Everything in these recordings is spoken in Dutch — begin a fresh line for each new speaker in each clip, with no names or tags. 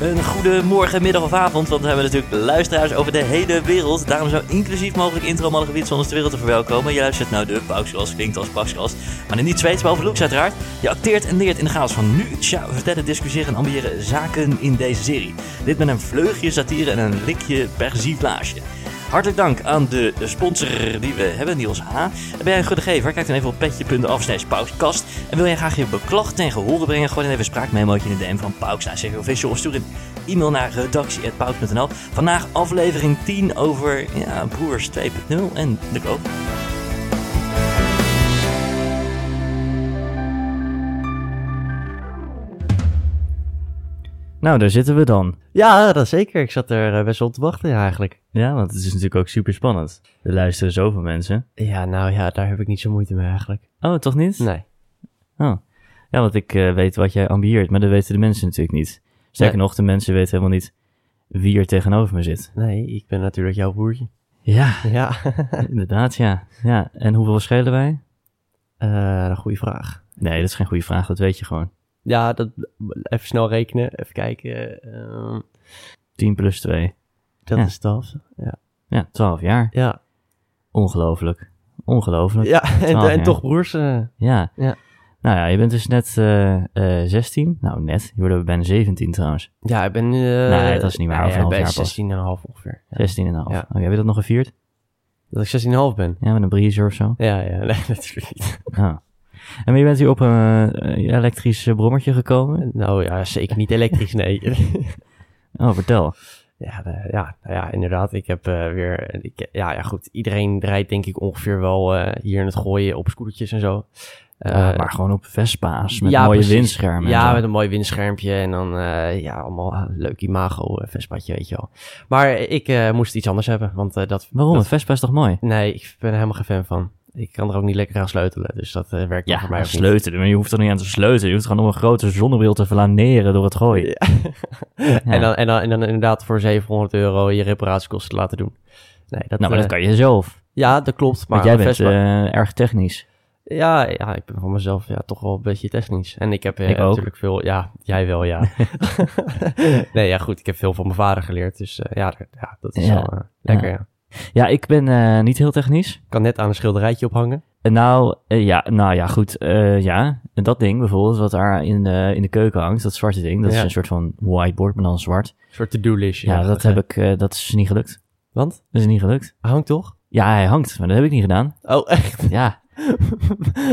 Een goede morgen, middag of avond, want we hebben natuurlijk luisteraars over de hele wereld. Daarom zo inclusief mogelijk intro malle gebied zonder de wereld te verwelkomen. Je luistert nou de Pauxcast, klinkt als Pauxcast, maar dan niet Zweeds, behalve looks uiteraard. Je acteert en leert in de chaos van nu. Tja, we vertellen, discussiëren en ambiëren zaken in deze serie. Dit met een vleugje satire en een likje persiflage. Hartelijk dank aan de sponsor die we hebben, Niels H. En ben jij een goede gever? Kijk dan even op petje.af slash pauskast. En wil jij graag je beklag ten gehore brengen? Gooi dan even een spraakmemootje in de DM van Pauks naar CV Official. Of stuur een e-mail naar redactie.pauks.nl. Vandaag aflevering 10 over ja, Broers 2.0 en de koop. Nou, daar zitten we dan.
Ja, dat zeker. Ik zat er eh, best wel op te wachten ja, eigenlijk.
Ja, want het is natuurlijk ook super spannend. Er luisteren zoveel mensen.
Ja, nou ja, daar heb ik niet zo moeite mee eigenlijk.
Oh, toch niet?
Nee.
Oh. Ja, want ik eh, weet wat jij ambieert, maar dat weten de mensen natuurlijk niet. Sterker
Nee.
nog, de mensen weten helemaal niet wie er tegenover me zit.
Nee, ik ben natuurlijk jouw broertje.
Ja,
Ja,
inderdaad, ja. ja. En hoeveel schelen wij?
Eh, een goede vraag.
Nee, dat is geen goede vraag, dat weet je gewoon.
Ja, dat, even snel rekenen, even kijken. Ehm,
10 plus 2.
dat
Ja.
is dat. Ja,
Ja, 12 jaar.
ja.
Ongelooflijk. Ongelooflijk. Ja.
ja en,
twaalf
en
jaar.
toch broers. eh, Ja.
Nou ja, je bent dus net eh, eh, 16. Nou, net. Je wordt bijna 17 trouwens.
ja, ik ben... eh,
Nee, dat is niet waar,
nou
over een
ja, ik
half
ben
jaar pas.
16,5 ongeveer. Ja.
16 en een half.
Ja.
Oh, heb je dat nog gevierd?
Dat ik 16,5 ben.
Ja, met een breezer of zo?
Ja, ja, nee, natuurlijk niet.
Ja. En maar je bent hier op een eh, elektrisch eh, brommertje gekomen?
Nou ja, zeker niet elektrisch, nee.
Oh, vertel.
Ja, de- ja, nou ja, inderdaad. Ik heb eh, weer. Ik, ja, ja, goed. Iedereen rijdt, denk ik, ongeveer wel eh, hier in het gooien op scootertjes en zo. Eh,
Eh, maar gewoon op Vespa's Dus met
ja,
mooie
precies.
windschermen. en
Ja,
zo.
met een mooi windschermpje en dan eh, ja, allemaal eh, leuk imago, eh, Vespatje, weet je wel. Maar ik eh, moest iets anders hebben, want eh, dat...
Waarom?
dat-
Een Vespa is toch mooi?
nee, ik ben er helemaal geen fan van. Ik kan er ook niet lekker aan sleutelen, dus dat eh, werkt dan voor mij ook niet.
sleutelen. Maar je hoeft er niet aan te sleutelen. Je hoeft gewoon om een grote zonnebril te flaneren door het gooien.
Ja. En, dan, en, dan, en dan inderdaad voor 700 euro je reparatiekosten laten doen. Nee, dat,
nou, maar dat
eh,
kan je zelf.
Ja, dat klopt. Maar
Want jij
een
bent
Vespa-
eh, erg technisch.
Ja, ja, ik ben van mezelf ja, toch wel een beetje technisch. En ik heb eh,
Ik ook.
natuurlijk veel... Ja, jij wel, ja. nee, ja, goed. Ik heb veel van mijn vader geleerd. Dus eh, ja, d- ja, dat is
Ja.
wel eh, lekker, ja.
Ja, ik ben eh, niet heel technisch.
Ik kan net aan een schilderijtje ophangen.
En nou, eh, ja, nou ja, goed. eh, ja, en dat ding bijvoorbeeld, wat daar in de, in de keuken hangt, dat zwarte ding, dat is
Ja.
een soort van whiteboard, maar dan zwart.
Een soort to-do-listje.
Ja, dat, heb ik, eh, dat is niet gelukt.
Want?
Dat is niet gelukt.
Hangt toch?
Ja, hij hangt, maar dat heb ik niet gedaan.
Oh, echt?
Ja.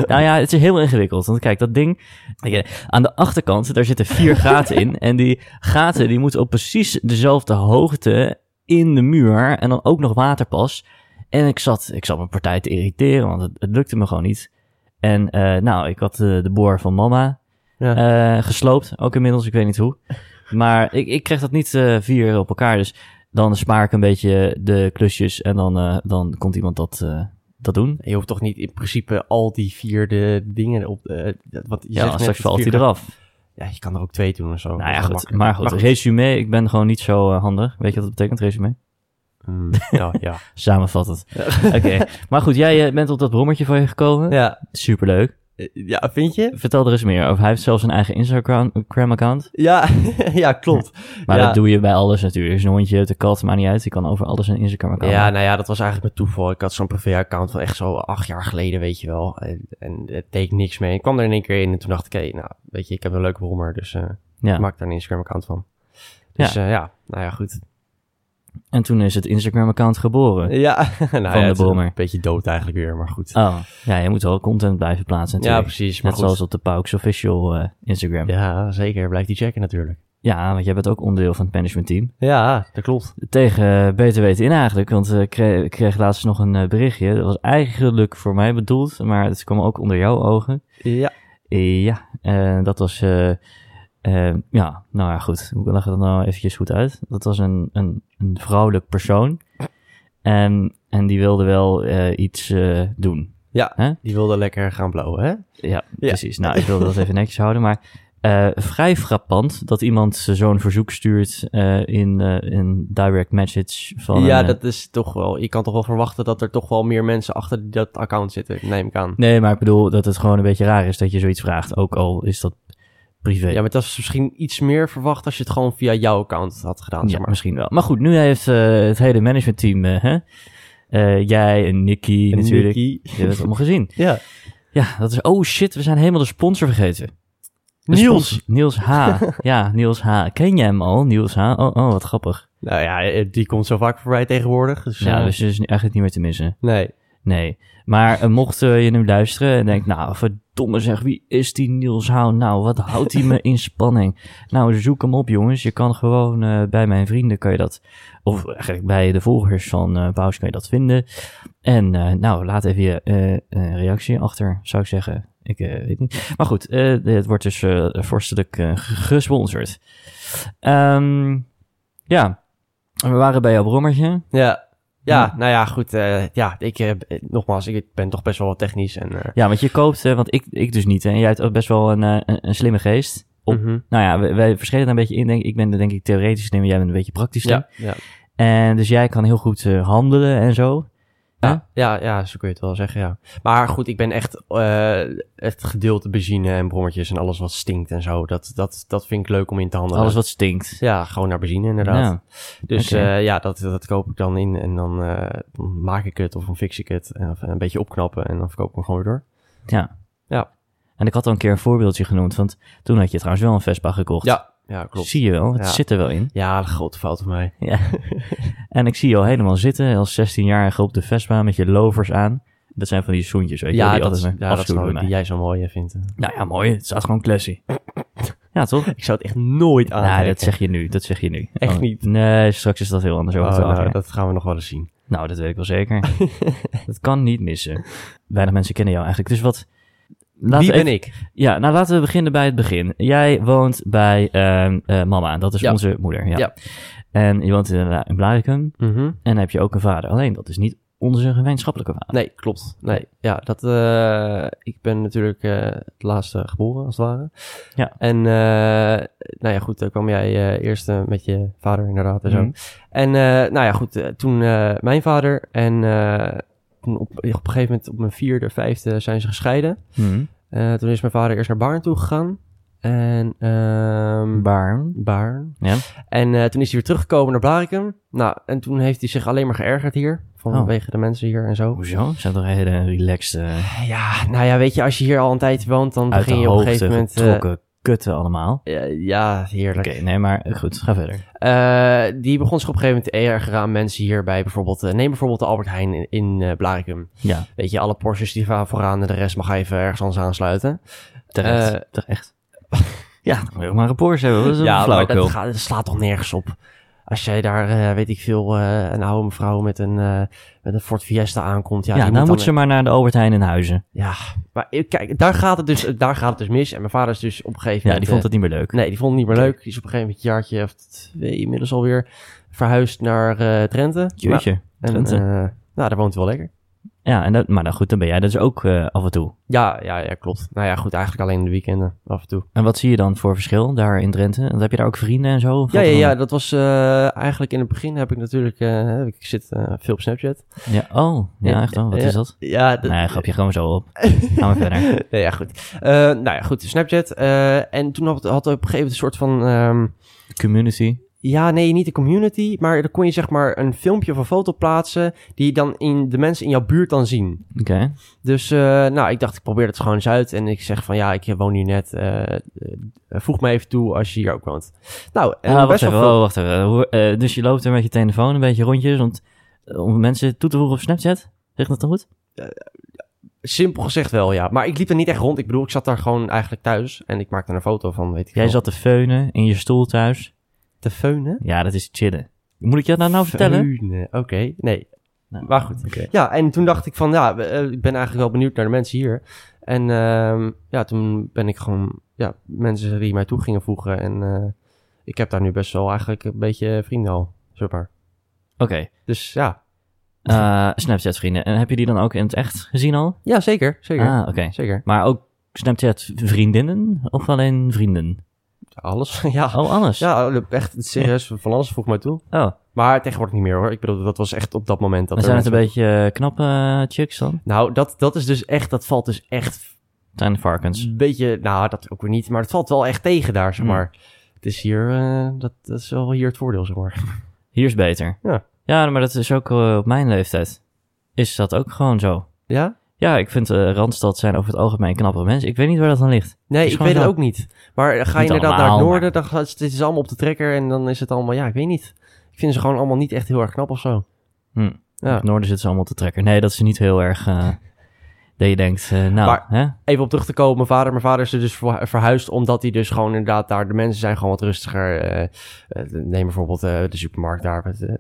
nou ja, het is heel ingewikkeld. Want kijk, dat ding... kijk, Aan de achterkant, daar zitten vier gaten in. En die gaten, die moeten op precies dezelfde hoogte in de muur. En dan ook nog waterpas. En ik zat, ik zat mijn partij te irriteren, want het, het lukte me gewoon niet. En eh, nou, ik had eh, de boor van mama
Ja.
eh, gesloopt. Ook inmiddels, ik weet niet hoe. Maar ik, ik kreeg dat niet eh, vier op elkaar. Dus dan spaar ik een beetje de klusjes. En dan, eh, dan komt iemand dat, eh, dat doen.
Je hoeft toch niet in principe al die vier de dingen op... eh, dat- want je
Ja,
zegt
dan
net
straks
dat
valt
vier
hij
gaat-
eraf.
Ja, je kan er ook twee doen of zo.
Nou
Dat
ja,
is
goed.
makkelijker.
Maar goed, resume, ik ben gewoon niet zo eh, handig. Weet je wat dat betekent, resume?
Mm, ja, ja.
Samenvattend. Oké, maar goed, jij eh, bent op dat brommertje van je gekomen.
ja.
Superleuk.
Eh, Ja, vind je?
Vertel er eens meer over. Hij heeft zelfs een eigen Instagram-account.
Ja, ja klopt.
Maar
ja.
dat doe je bij alles natuurlijk. Als je een hondje hebt, de kat, maakt niet uit. Die kan over alles een Instagram-account
Ja,
maken.
nou ja, dat was eigenlijk met toeval. Ik had zo'n privé-account van echt zo acht jaar geleden, weet je wel. En, en het deed niks mee. Ik kwam er in één keer in en toen dacht ik, hé, nou, weet je, ik heb een leuke brommer, dus eh,
Ja.
maak daar een Instagram-account van. Dus ja. ja, nou ja, goed.
En toen is het Instagram-account geboren.
Ja, nou ja, het is
brommer.
Een beetje dood eigenlijk weer, maar goed.
Oh, ja, je moet wel content blijven plaatsen
ja,
natuurlijk.
precies, maar
Net
goed.
zoals op de Pauks Official eh, Instagram. Ja.
Ja, zeker. Blijf die checken natuurlijk.
want jij bent ook onderdeel van het managementteam.
Ja, dat klopt.
Tegen eh, beter weten in eigenlijk, want eh, ik kreeg, ik kreeg laatst nog een eh, berichtje. Dat was eigenlijk voor mij bedoeld, maar het kwam ook onder jouw ogen.
Ja.
Eh, ja, eh, dat was... eh, eh, ja, nou ja, goed. Hoe leg ik dat nou eventjes goed uit? Dat was een, een, een vrouwelijk persoon. En, en die wilde wel eh, iets eh, doen.
Die wilde lekker gaan blowen, hè?
Ja, precies. Nou, ik wilde dat even netjes houden. Maar eh, vrij frappant dat iemand zo'n verzoek stuurt eh, in eh, een direct message van...
ja,
een, eh,
dat is toch wel... Je kan toch wel verwachten dat er toch wel meer mensen achter dat account zitten, neem ik aan.
Nee, maar ik bedoel dat het gewoon een beetje raar is dat je zoiets vraagt. Ook al is dat privé.
Ja, maar dat is misschien iets meer verwacht als je het gewoon via jouw account had gedaan,
Ja,
zeg maar.
misschien wel. Maar goed, nu heeft eh, het hele managementteam, eh, hè? eh, jij en Nicky
En
natuurlijk,
Nicky.
die hebben het allemaal gezien.
Ja.
Ja, dat is, oh shit, we zijn helemaal de sponsor vergeten. De
Niels.
spons- Niels H. ja, Niels H. Ken jij hem al, Niels H? Oh, oh wat grappig.
Nou ja, eh, die komt zo vaak voorbij tegenwoordig. Dus,
Ja,
eh,
dus is eigenlijk niet meer te missen.
Nee.
Nee. Maar eh, mocht eh, je nu luisteren en denkt, nou, verdomme zeg, wie is die Niels H? Nou, wat houdt hij me in spanning? Nou, zoek hem op, jongens. Je kan gewoon eh, bij mijn vrienden kan je dat, of eigenlijk bij de volgers van eh Bouws kan je dat vinden. En eh, nou, laat even je eh, eh, reactie achter, zou ik zeggen. Ik eh, weet niet. Maar goed, eh, het wordt dus eh, vorstelijk eh, g- gesponsord. Ehm, ja, we waren bij jouw brommertje.
Ja. Ja,
Ja.
nou ja, goed. eh, ja, ik, eh, eh, nogmaals, ik ben toch best wel wat technisch. En, eh,
Ja, want je koopt, eh, want ik, ik dus niet. hè. En jij hebt ook best wel een, eh, een, een slimme geest. Op,
mhm.
Nou ja, wij, wij verschillen daar een beetje in. Denk, ik. ik ben er denk ik theoretisch in, maar jij bent een beetje praktisch.
ja,
Ja.
ja.
En dus jij kan heel goed eh, handelen en zo.
Ja, ja, ja, zo kun je het wel zeggen, ja. Maar goed, ik ben echt eh het gedeelte benzine en brommetjes en alles wat stinkt en zo. Dat, dat, dat vind ik leuk om in te handelen.
Alles wat stinkt.
Ja, gewoon naar benzine inderdaad.
Ja.
Dus
oké.
eh, ja, dat, dat koop ik dan in en dan eh, dan maak ik het of dan fix ik het. En of een beetje opknappen en dan verkoop ik hem gewoon weer door.
ja.
Ja.
En ik had al een keer een voorbeeldje genoemd, want toen had je trouwens wel een Vespa gekocht.
Ja, klopt.
Zie je wel, het
Ja.
zit er wel in.
Ja, een grote fout van mij.
Ja. en ik zie je al helemaal zitten als 16-jarige op de Vespa met je lovers aan. Dat zijn van die zoentjes, weet je wel,
ja,
die
dat,
altijd
ja, dat
afschuwen
snap ik,
bij
die
mij.
jij zo mooi eh, vindt.
Nou ja, mooi. Het staat gewoon classy. ja, toch?
Ik zou het echt nooit aantrekken.
Nou, dat zeg je nu. Dat zeg je nu.
Ah,
Oh.
Echt niet.
Nee, straks is dat heel anders over
Oh,
het half
nou,
jaar.
dat gaan we nog wel eens zien.
Nou, dat weet ik wel zeker. dat kan niet missen. Weinig mensen kennen jou eigenlijk. Dus wat... Laten
Wie
we
ben
even-
ik?
Ja, nou laten we beginnen bij het begin. Jij woont bij ehm, eh, mama. Dat is
Ja.
onze moeder. Ja.
Ja.
En je woont in, eh, in Blarikum.
Mhm.
En dan heb je ook een vader. Alleen, dat is niet onze gemeenschappelijke vader.
Nee, klopt. Nee, ja, dat, eh, ik ben natuurlijk eh, het laatste geboren, als het ware.
Ja.
En, eh, nou ja, goed, dan kwam jij eh, eerst eh, met je vader inderdaad en zo.
Mhm.
En, eh, nou ja, goed, eh, toen eh, mijn vader en eh, toen op, op een gegeven moment op mijn vierde, vijfde zijn ze gescheiden.
Hmm.
Eh, toen is mijn vader eerst naar Baarn toe gegaan. En, ehm,
Baarn.
Baarn.
Ja.
En eh, toen is hij weer teruggekomen naar Blarikum. Nou, en toen heeft hij zich alleen maar geërgerd hier.
Oh.
Vanwege de mensen hier en zo.
Hoezo? Zijn toch een hele relaxed, eh,
Ja, nou ja, weet je, als je hier al een tijd woont, dan
uit de
begin je op een
hoogte
gegeven moment... eh,
getrokken kutten allemaal?
eh, ja, heerlijk.
Oké, nee, maar goed, ga verder.
Eh, die begon zich op een gegeven moment te ergeren aan mensen hierbij. Bijvoorbeeld, eh, neem bijvoorbeeld de Albert Heijn in, in eh, Blarikum.
Ja,
Weet je, alle Porsches die gaan vooraan en de rest mag even ergens anders aansluiten.
terecht.
Eh,
terecht. ja, dan moet je ook maar een Porsche hebben. Dat is een
ja, maar
flauwekul.
dat, gaat, dat slaat toch nergens op. Als jij daar, eh, weet ik veel, eh, een oude mevrouw met een, eh, met een Ford Fiesta aankomt. Ja,
Ja,
die
nou
moet
moet
dan-
ze maar naar de Albert Heijn in Huizen.
Ja, maar eh, kijk, daar gaat, het dus, daar gaat het dus mis. En mijn vader is dus op een gegeven
Ja,
moment...
die vond het niet meer leuk.
Nee, die vond het niet meer leuk. Die is op een gegeven moment een jaartje of twee inmiddels alweer verhuisd naar eh, Drenthe.
Jeetje.
Nou, en,
Drenthe.
eh, nou, daar woont hij wel lekker.
Ja, en dat, maar dan goed, dan ben jij dat is ook eh, af en toe.
Ja, ja, ja, klopt. Nou ja, goed, eigenlijk alleen in de weekenden af en toe.
En wat zie je dan voor verschil daar in Drenthe? Want heb je daar ook vrienden en zo? Of
Ja,
wat
ja,
dan?
ja, dat was eh, eigenlijk in het begin heb ik natuurlijk, eh, ik zit eh, veel op Snapchat.
Ja, Oh, ja, echt dan? Wat
Ja,
is dat?
Ja, dat,
Nee, grapje, gewoon zo op. Gaan we verder.
Nee, ja, goed. Eh, nou ja, goed, Snapchat. eh, en toen had, had op een gegeven moment een soort van, ehm,
Community.
ja, nee, niet de community, maar dan kon je zeg maar een filmpje of een foto plaatsen die je dan in de mensen in jouw buurt dan zien.
Oké.
Dus eh, nou, ik dacht, ik probeer het gewoon eens uit. En ik zeg van ja, ik woon hier net. eh, eh, voeg me even toe als je hier ook woont. Nou, en
Ah, wacht
best
even,
wel veel-
oh, wacht even. Hoe- eh, dus je loopt er met je telefoon een beetje rondjes om, om mensen toe te voegen op Snapchat? Zeg dat dan goed?
simpel gezegd wel, ja. Maar ik liep er niet echt rond. Ik bedoel, ik zat daar gewoon eigenlijk thuis. En ik maakte er een foto van, weet ik
Jij
veel.
zat te feunen in je stoel thuis.
te feunen?
Ja, dat is chillen. Moet ik je dat nou vertellen?
Feunen, oké. Nee.
Nou,
Maar goed.
oké.
Ja, en toen dacht ik van ja, eh, ik ben eigenlijk wel benieuwd naar de mensen hier. En ehm, ja, toen ben ik gewoon ja, mensen die mij toe gingen voegen. En eh, ik heb daar nu best wel eigenlijk een beetje vrienden al, zeg maar.
Oké.
Dus ja.
Eh, Snapchat vrienden. En heb je die dan ook in het echt gezien al?
Ja, zeker. Zeker.
Ah, oké.
Zeker.
Maar ook Snapchat vriendinnen of alleen vrienden?
Alles. ja.
Oh, alles.
Ja, echt serieus. Van alles vroeg mij toe.
Oh,
Maar tegenwoordig niet meer hoor. Ik bedoel, dat was echt op dat moment. Dat
dan
er
zijn het een
mensen-
beetje eh, knappe eh, chicks dan?
Nou, dat, dat is dus echt, dat valt dus echt
Het zijn de varkens.
Een beetje, nou dat ook weer niet, maar het valt wel echt tegen daar, zeg
Hmm.
maar. Het is hier, eh, dat, dat is wel hier het voordeel, zeg maar.
Hier is beter.
Ja.
Ja, maar dat is ook eh, op mijn leeftijd. Is dat ook gewoon zo?
Ja?
Ja, ik vind eh, Randstad zijn over het algemeen knappere mensen. Ik weet niet waar dat aan ligt.
Nee,
Is
ik
gewoon
weet het
zo.
ook niet. Maar ga je
Niet
inderdaad naar het
allemaal,
noorden, dan gaat het is allemaal op de trekker en dan is het allemaal, ja, ik weet niet. Ik vind ze gewoon allemaal niet echt heel erg knap of zo.
Hm.
Ja.
In het noorden zitten ze allemaal te trekken. Nee, dat is niet heel erg... eh, dat je denkt, eh, nou,
Maar-
hè?
Even op terug te komen, mijn vader, mijn vader is er dus verhu- verhuisd omdat hij dus gewoon inderdaad daar, de mensen zijn gewoon wat rustiger. eh, eh, neem bijvoorbeeld eh, de supermarkt daar. met,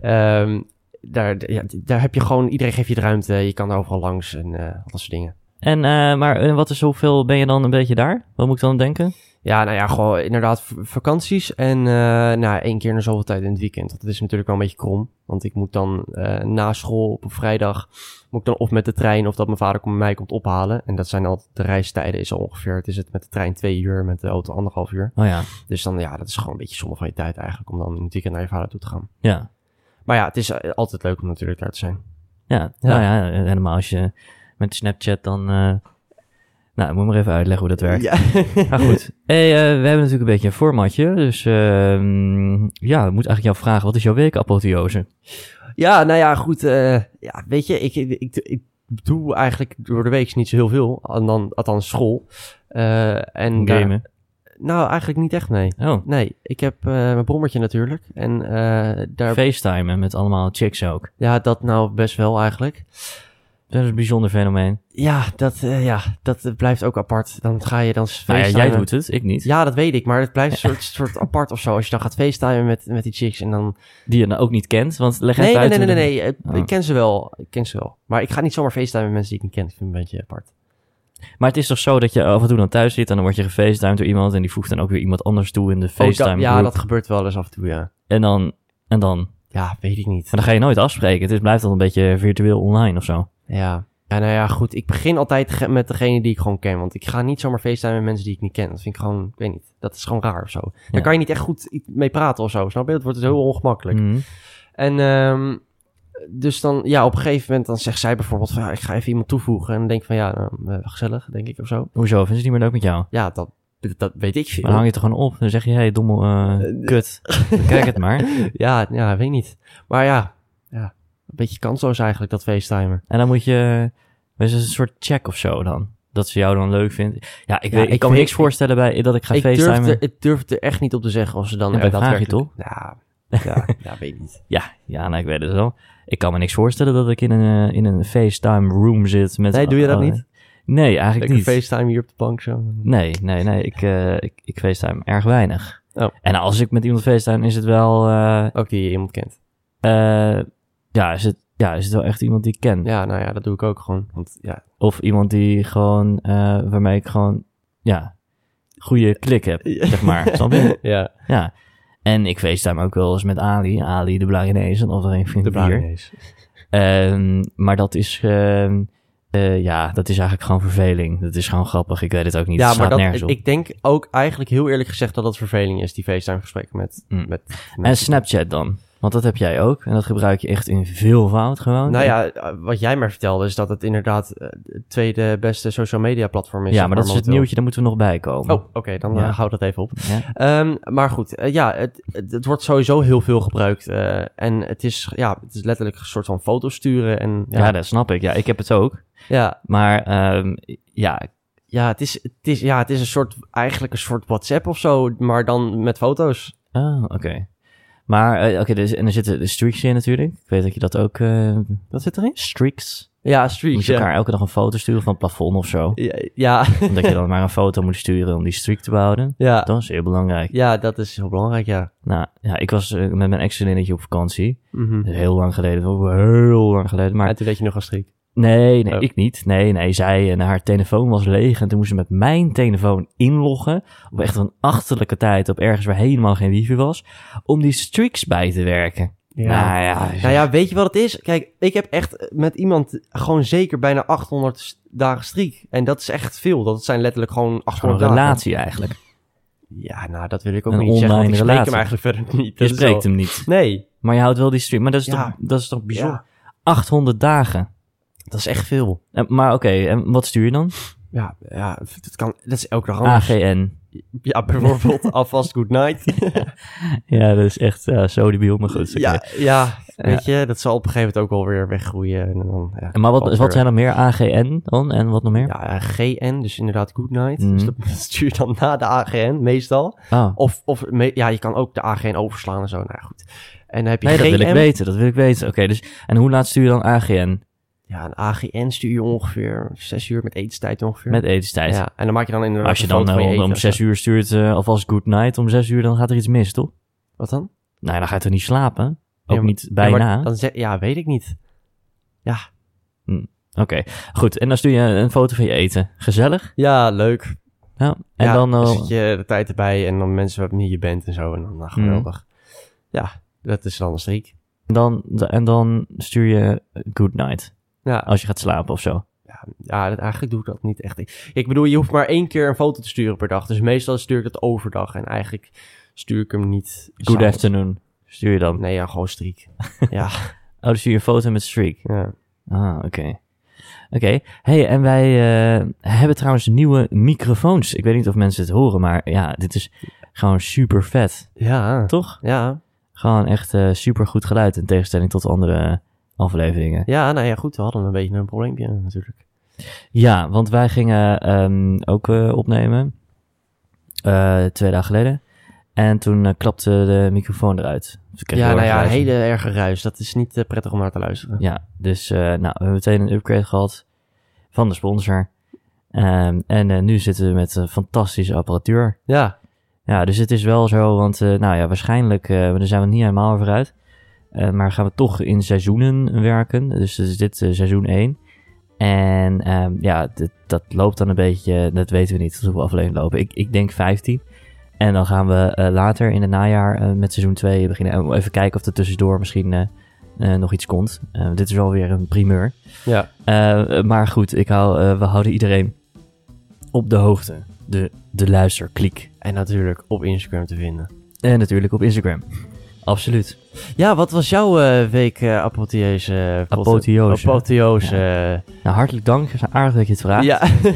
eh, ehm, daar, ja, daar heb je gewoon, iedereen geeft je de ruimte, je kan er overal langs en eh, al dat soort dingen.
En, eh, maar eh, wat is hoeveel ben je dan een beetje daar? Wat moet ik dan denken?
Ja, nou ja, gewoon inderdaad v- vakanties. En eh nou, één keer in de zoveel tijd in het weekend. Dat is natuurlijk wel een beetje krom. Want ik moet dan eh, na school op een vrijdag... moet ik dan of met de trein of dat mijn vader komt, mij komt ophalen. En dat zijn al de reistijden is al ongeveer... het is het met de trein twee uur, met de auto anderhalf uur.
Oh ja,
Dus dan, ja, dat is gewoon een beetje zonde van je tijd eigenlijk... om dan in het weekend naar je vader toe te gaan.
ja.
Maar ja, het is eh, altijd leuk om natuurlijk daar te zijn.
Ja, nou ja, eh, helemaal als je met Snapchat dan... eh, Nou, ik moet maar even uitleggen hoe dat werkt.
Ja.
Maar goed, hey, eh, we hebben natuurlijk een beetje een formatje. Dus ehm, ja, ik moet eigenlijk jou vragen, wat is jouw weekapotheose?
Ja, nou ja, goed. eh, ja, weet je, ik, ik, ik, ik doe eigenlijk door de week niet zo heel veel. En dan, althans, school. Eh, en daar-
Gamen.
nou, eigenlijk niet echt, nee.
Oh,
Nee, ik heb eh, mijn brommertje natuurlijk. En eh, daar...
facetimen met allemaal chicks ook.
ja, dat nou best wel eigenlijk.
Dat is een bijzonder fenomeen.
Ja, dat, eh, ja, dat eh, blijft ook apart. Dan ga je dan
Nou ja, jij
facetimen.
doet het, ik niet.
Ja, dat weet ik, maar het blijft een soort, soort apart of zo. Als je dan gaat facetimen met, met die chicks en dan...
Die je dan ook niet kent, want leg
Nee,
even
nee,
uit.
nee, nee,
hoe
nee, eh,
Oh.
Ik ken ze wel, ik ken ze wel. Maar ik ga niet zomaar facetimen met mensen die ik niet ken. Ik vind het een beetje apart.
dat- Maar het is toch zo dat je af en toe dan thuis zit en dan word je gefacetimed door iemand en die voegt dan ook weer iemand anders toe in de
Oh, dat-
facetime
ja,
groep.
dat gebeurt wel eens af en toe, ja.
En dan, en dan.
Ja, weet ik niet.
Maar dan ga je nooit afspreken. Het is, blijft dan een beetje virtueel online of zo.
Ja. ja, nou ja, goed. Ik begin altijd ge- met degene die ik gewoon ken. Want ik ga niet zomaar facetimen met mensen die ik niet ken. Dat vind ik gewoon, ik weet niet. Dat is gewoon raar of zo.
Ja.
Daar kan je niet echt goed i- mee praten of zo, snap je? Het wordt dus heel ongemakkelijk.
Mhm.
En ehm, dus dan, ja, op een gegeven moment dan zegt zij bijvoorbeeld van... Ja, ik ga even iemand toevoegen. En dan denk ik van, ja, nou, eh, gezellig, denk ik of zo.
Hoezo? Vinden ze het niet meer leuk met jou?
Ja, dat, dat weet ik
Maar dan hang
veel.
je het er gewoon op. Dan zeg je, hé, hey, domme eh, kut. Kijk het maar.
Ja, ja, weet ik niet. Maar ja, ja, een beetje kansloos eigenlijk, dat facetimen.
En dan moet je... Het is een soort check of zo dan. Dat ze jou dan leuk vindt. Ja, ik,
Ja,
weet, ik
ik
kan me
vind-
niks voorstellen bij dat ik ga
ik durf,
facetimen.
er, ik durf het er echt niet op te zeggen of ze dan
Ja,
er
bij vraag je
daadwerkelijk- Ja, ja, ja, weet ik niet.
Ja, ja nou, ik weet het wel. Ik kan me niks voorstellen dat ik in een, eh, in een facetime room zit. Met,
Oh,
eh,
Nee, doe je dat niet?
Nee, eigenlijk
Lekker
niet.
FaceTime hier op de bank zo.
Nee, nee, nee. Ik, eh ik, ik facetime erg weinig.
Oh.
En als ik met iemand facetime is het wel... eh,
Ook die je iemand kent.
Eh, ja, is het, ja, is het wel echt iemand die ik ken?
Ja, nou ja, dat doe ik ook gewoon. Want ja,
Of iemand die gewoon, eh, waarmee ik gewoon, ja, goede klik heb, zeg maar. Snap je?
ja
Ja. En ik facetime ook wel eens met Ali. Ali de Blarinese, of er een vriend
de
bier.
blauwe
Ehm, maar dat is, ehm, eh, ja, dat is eigenlijk gewoon verveling. Dat is gewoon grappig. Ik weet het ook niet.
Ja,
het
maar
slaat
dat,
nergens op.
ik denk ook eigenlijk heel eerlijk gezegd dat het verveling is, die FaceTime gesprekken met,
Mm.
met
En
mensen.
Snapchat dan? Want dat heb jij ook. En dat gebruik je echt in veelvoud gewoon.
Nou ja, eh, wat jij maar vertelde is dat het inderdaad eh, het tweede beste social media platform is.
ja,
zeg
maar dat is het
momenteel.
nieuwtje. Daar moeten we nog bij komen.
Oh, oké, dan
Ja.
eh, hou dat even op.
Ja.
Ehm, maar goed, eh, ja, het, het, het wordt sowieso heel veel gebruikt. eh, en het is, ja, het is letterlijk een soort van foto's sturen. En,
Ja,
ja, ja,
dat snap ik. Ja, ik heb het ook. Maar ehm, ja,
ja, het is, het is, ja, het is een soort, eigenlijk een soort WhatsApp of zo, maar dan met foto's.
oh, oké. Maar, eh, oké, dus, en er zitten de streaks in natuurlijk. Ik weet dat je dat ook... eh,
Wat zit erin?
streaks?
Ja,
Moet
streaks,
je
ja.
elkaar elke dag een foto sturen van het plafond of zo?
Ja, ja,
Omdat je dan maar een foto moet sturen om die streak te behouden.
ja,
Dat is heel belangrijk.
ja, dat is heel belangrijk, ja.
Nou, ja, ik was eh, met mijn ex-vriendinnetje op vakantie.
Mhm.
Dat is heel lang geleden. dat was Heel lang geleden. Maar
En toen deed je nog een streak.
Nee, nee,
Oh.
ik niet. Nee, nee, zij en haar telefoon was leeg en toen moest ze met mijn telefoon inloggen. Op echt een achterlijke tijd, op ergens waar helemaal geen wifi was, om die streaks bij te werken. Nou ja,
Nou ja, weet je wat het is? Kijk, ik heb echt met iemand gewoon zeker bijna 800 s- dagen streak. En dat is echt veel. Dat zijn letterlijk gewoon 800
gewoon een
dagen.
relatie eigenlijk.
Ja, nou, dat wil ik ook
Een
niet zeggen, want ik
online
spreek
relatie.
hem eigenlijk verder niet.
Je
Dat is
spreekt
wel-
hem niet,
Nee.
maar je houdt wel die streak. Maar dat is,
Ja.
toch, dat is toch bijzonder?
Ja,
800 dagen.
dat is echt veel.
Eh, En- maar oké, en wat stuur je dan?
Ja, ja dat, kan, dat is elke dag anders.
AGN.
Ja, bijvoorbeeld alvast good night.
Ja, dat is echt eh, zo debiel, maar goed. is oké.
ja, ja, weet je, dat zal op een gegeven moment ook wel weer weggroeien. En dan, ja,
En Maar
valt
wat,
weer
wat zijn
weg.
er meer AGN dan? En wat nog meer?
Ja, GN, dus inderdaad good night.
Mhm.
Dus dat stuur je dan na de AGN meestal.
Oh.
Of, of me- ja, je kan ook de AGN overslaan en zo. Nou ja, goed. En dan heb je
Nee, dat wil ik
GM.
weten. Dat wil ik weten. Oké, dus en hoe laat stuur je dan AGN?
Ja, een AGN stuur je ongeveer zes uur met etenstijd ongeveer.
Met etenstijd.
ja, en dan maak je dan inderdaad
Als je
een
dan
foto van
eh,
je
om,
eten
om
of
zes
zo.
uur stuurt eh, alvast good night om zes uur, dan gaat er iets mis, toch?
Wat dan?
Nou, ja, dan ga je toch niet slapen? Ook
Ja, maar-
niet
Ja, maar
bijna.
dan zeg, ja, weet ik niet.
Oké, goed. En dan stuur je een foto van je eten. Gezellig.
Ja, leuk.
Ja. En
ja,
dan... eh, Mhm.
zit je de tijd erbij en dan mensen waarmee je bent en zo. En dan nou, geweldig. Ja, dat is dan een streak.
Dan, en dan stuur je eh, good night.
Ja,
Als je gaat slapen of zo.
ja dat, eigenlijk doe ik dat niet echt. Ik, ik bedoel, je hoeft maar één keer een foto te sturen per dag. Dus meestal stuur ik dat overdag. En eigenlijk stuur ik hem niet...
Good
s'avonds.
afternoon. Stuur je dan.
Nee, ja, gewoon streak.
Oh, dan stuur je een foto met streak.
Ja.
Ah, oké. Oké. Hey, en wij eh, hebben trouwens nieuwe microfoons. Ik weet niet of mensen het horen, maar ja, dit is gewoon super vet.
Ja.
Toch?
Ja.
Gewoon echt eh, super goed geluid in tegenstelling tot andere afleveringen.
ja, nou ja, goed. We hadden een beetje een probleempje natuurlijk.
Ja, want wij gingen ehm, ook eh, opnemen. Eh, twee dagen geleden. En toen eh, klapte de microfoon eruit. Dus ik kreeg
Ja,
heel
nou
erg
ja, een
ruis.
hele erge ruis. Dat is niet eh, prettig om naar te luisteren.
Ja, dus eh, nou, we hebben meteen een upgrade gehad van de sponsor. Ehm, en eh, nu zitten we met een fantastische apparatuur.
Ja,
Ja, dus het is wel zo, want eh, nou ja, waarschijnlijk, eh daar zijn we niet helemaal over uit. Eh, maar gaan we toch in seizoenen werken. Dus dit is dit eh, seizoen 1. En ehm, ja, dit- dat loopt dan een beetje, dat weten we niet hoeveel afleveringen lopen. Ik, ik denk 15. En dan gaan we eh, later in het najaar eh, met seizoen 2 beginnen. En even kijken of er tussendoor misschien eh, eh, nog iets komt. Eh, dit is alweer een primeur.
ja.
Eh, maar goed, ik hou, eh, we houden iedereen op de hoogte. De, de luisterkliek.
En natuurlijk op Instagram te vinden.
En natuurlijk op Instagram. Absoluut.
Ja, wat was jouw eh, week eh apotheose? eh,
Apotheose.
Apotheose. eh,
Nou, hartelijk dank. Het is aardig dat je het
Ja.
vraagt.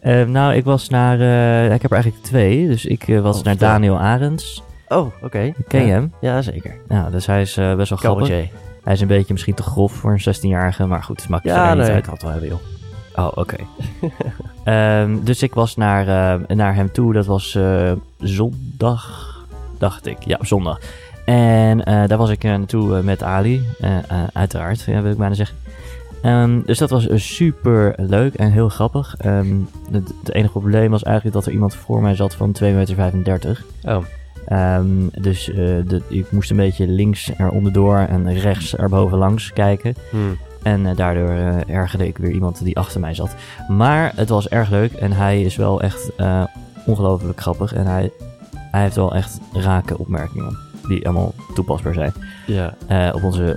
Eh, nou, ik was naar... eh, ik heb er eigenlijk twee. Dus ik eh, was
Oh,
naar
vertel.
Daniel Arends.
Oh, oké.
Ken je
ja.
hem?
Ja, zeker.
Nou, dus hij is eh, best wel grappig.
Cabaretier.
Hij is een beetje misschien te grof voor een 16-jarige. Maar goed, het maakt
Ja,
verder niet
nee.
uit.
Ik had wel hebben, joh.
Oh, oké. Ehm, dus ik was naar, eh, naar hem toe. Dat was eh, zondag, dacht ik. Ja, zondag. En eh, daar was ik eh, naartoe eh, met Ali. Eh, eh, uiteraard, ja, wil ik bijna zeggen. Ehm, dus dat was super leuk en heel grappig. Ehm, het, het enige probleem was eigenlijk dat er iemand voor mij zat van 2,35 meter.
Oh.
Ehm, dus eh, de- ik moest een beetje links eronderdoor en rechts erboven langs kijken.
Hmm.
En eh, daardoor eh, ergerde ik weer iemand die achter mij zat. Maar het was erg leuk en hij is wel echt eh, ongelooflijk grappig. En hij, hij heeft wel echt rake opmerkingen die allemaal toepasbaar zijn
Ja.
eh, op onze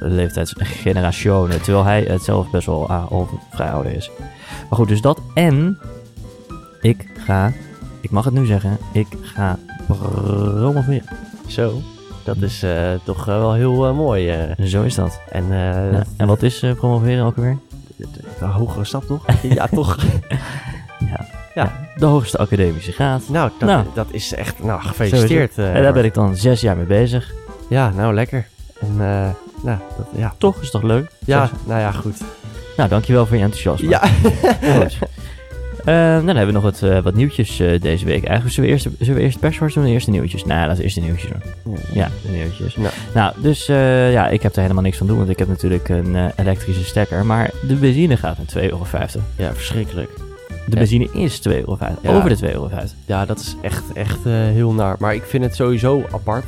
leeftijdsgenerationen. Terwijl hij het zelf best wel ah, al vrij ouder is. Maar goed, dus dat en ik ga, ik mag het nu zeggen, ik ga promoveren.
Zo. Dat is eh, toch eh, wel heel eh, mooi. eh.
Zo is dat.
En eh,
Ja, en wat is eh, promoveren ook alweer?
een hogere stap, toch? ja, toch.
De hoogste academische graad.
Nou, dat,
Nou.
dat is echt... Nou, gefeliciteerd. eh,
en daar ben
Bart.
ik dan zes jaar mee bezig.
Ja, nou, lekker. En, eh, nou, dat, ja.
Toch is toch leuk?
Ja,
Zes-
nou ja, goed.
Nou, dankjewel voor je enthousiasme. Goed. Eh, nou, dan hebben we nog wat, eh, wat nieuwtjes eh, deze week. Eigenlijk zullen we eerst, zullen we eerst perswars doen en eerst de nieuwtjes? Nou, laten we eerst de nieuwtjes doen. Ja, de nieuwtjes.
Nou.
Nou, dus eh, ja, ik heb er helemaal niks van doen, want ik heb natuurlijk een eh, elektrische stekker. Maar de benzine gaat naar 2,50 euro.
Ja, verschrikkelijk.
De benzine is 2,50 euro.
Ja.
Over de 2,50 euro.
Ja, dat is echt, echt eh, heel naar. Maar ik vind het sowieso apart.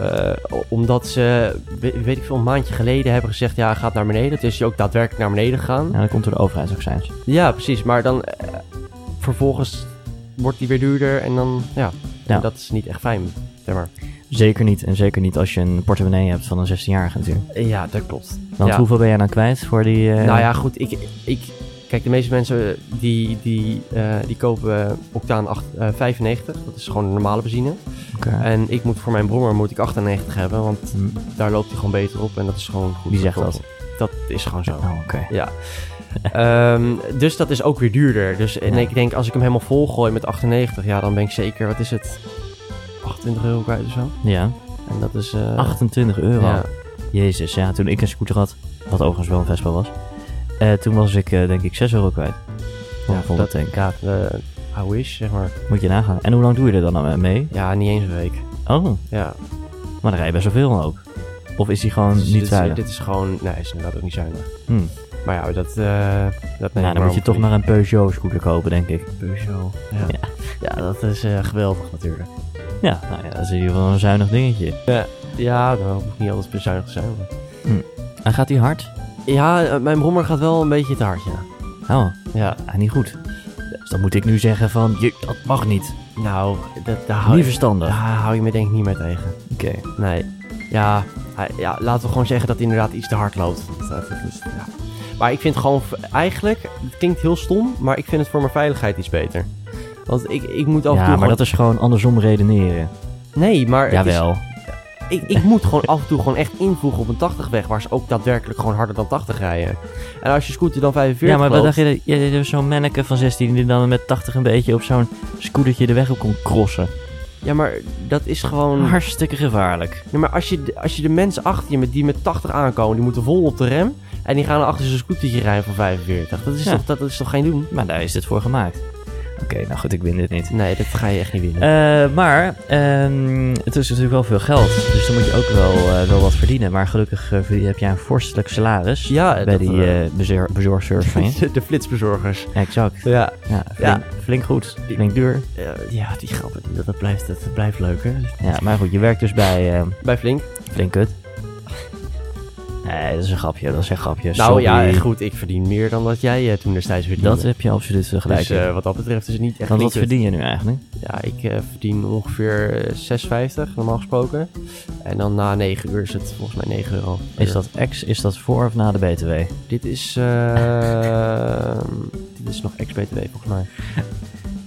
Eh, omdat ze, we- weet ik veel, een maandje geleden hebben gezegd... ja, gaat naar beneden. Het is ook daadwerkelijk naar beneden gegaan.
Nou, dat komt door de overheidsaccijns.
Ja, precies. Maar dan eh, vervolgens wordt die weer duurder. En dan, ja,
Ja.
dat is niet echt fijn. Zeg maar.
Zeker niet. En zeker niet als je een portemonnee hebt van een 16-jarige natuurlijk.
Ja, dat klopt.
Want
Ja.
hoeveel ben jij dan kwijt voor die... eh,
Nou ja, goed. Ik, ik, kijk, de meeste mensen die, die, eh, die kopen eh, octaan acht- eh, 95. Dat is gewoon de normale benzine.
oké.
En ik moet voor mijn brommer moet ik 98 hebben, want
Hm,
daar loopt hij gewoon beter op en dat is gewoon goed.
Wie zegt
voor het
dat?
kost. Dat is gewoon zo.
Oh, oké.
Ja. Ehm, dus dat is ook weer duurder. Dus en ik denk, als ik hem helemaal vol gooi met 98, ja, dan ben ik zeker, wat is het? 28 euro kwijt of zo.
Ja,
En dat is. eh,
28 euro.
ja.
Jezus, ja, toen ik een scooter had, wat overigens wel een Vespa was, eh, toen was ik eh, denk ik 6 euro kwijt. Voor
Ja,
een volle
dat-
tank.
Ja, eh, I wish, zeg maar.
Moet je nagaan. En hoe lang doe je er dan aan mee?
Ja, niet eens een week.
Oh,
Ja.
maar dan rij je best wel veel ook. Of is die gewoon
Dus
niet
dit, is,
veilig?
dit is gewoon. Nee, is inderdaad ook niet zuinig.
Hm.
Maar ja, dat. eh dat neem
nou,
ik
dan moet je toch
maar
maar een Peugeot scooter kopen, denk ik.
op. Peugeot. Ja.
Ja.
Ja. dat is eh, geweldig natuurlijk.
Ja, nou ja, dat is in ieder geval een zuinig dingetje.
Ja, nou, het moet niet altijd bezuinigd zijn. maar-
En gaat die hard?
Ja, eh, mijn brommer gaat wel een beetje te hard, ja.
Oh,
Ja,
ja, niet goed. Dus dan moet ik nu zeggen van, je, dat mag niet.
nou, dat, daar, hou
Niet
je,
verstandig.
daar hou je me denk ik niet meer tegen.
Oké.
Nee. Ja, hij- ja, laten we gewoon zeggen dat hij inderdaad iets te hard loopt. Dat, eh, dat is, ja. Maar ik vind gewoon, v- eigenlijk, het klinkt heel stom, maar ik vind het voor mijn veiligheid iets beter. Want ik, ik moet af en toe
Ja, maar
gewoon...
dat is gewoon andersom redeneren.
Nee, maar het is-
Jawel.
ik, ik moet gewoon af en toe gewoon echt invoegen op een 80-weg... waar ze ook daadwerkelijk gewoon harder dan 80 rijden. En als je scooter dan 45
Ja, maar wat
loopt-
dacht je? dat- Je je- zo'n manneke van 16 die dan met 80 een beetje op zo'n scootertje de weg op kon crossen.
Ja, maar dat is
Hmm.
gewoon...
Hartstikke gevaarlijk.
Ja, maar als je, de- als je de mensen achter je met, die met 80 aankomen, die moeten vol op de rem. En die gaan achter zijn scootertje rijden van 45. Dat is,
Ja.
toch, dat, dat is toch geen doen?
Maar daar is dit voor gemaakt. Oké, nou goed, ik win dit niet.
Nee, dat ga je echt niet winnen.
Eh, maar ehm, het is natuurlijk wel veel geld. Dus dan moet je ook wel, eh, wel wat verdienen. Maar gelukkig eh, verdien- heb jij een vorstelijk salaris.
ja,
bij
dat-
die eh bezor- bezorgservice van je.
de flitsbezorgers.
Exact.
Ja,
Ja, flink,
Ja.
flink goed. Flink duur.
eh, ja die grappen, dat, dat, blijft, dat blijft leuk, hè?
Ja, maar goed, je werkt dus bij eh
Bij Flink.
Flink Kut. Nee, dat is een grapje. Dat is een grapje.
Nou ja,
Sorry.
goed, ik verdien meer dan dat jij eh, toen destijds verdiende.
Dat heb je absoluut eh, gelijk.
dus, eh, wat dat betreft is het niet echt...
Want wat
flink.
verdien je nu eigenlijk?
Ja, ik eh, verdien ongeveer eh, 6,50 normaal gesproken. En dan na 9 uur is het volgens mij 9 euro.
Is dat ex, is dat voor of na de BTW?
Dit is, eh, dit is nog ex-BTW volgens mij.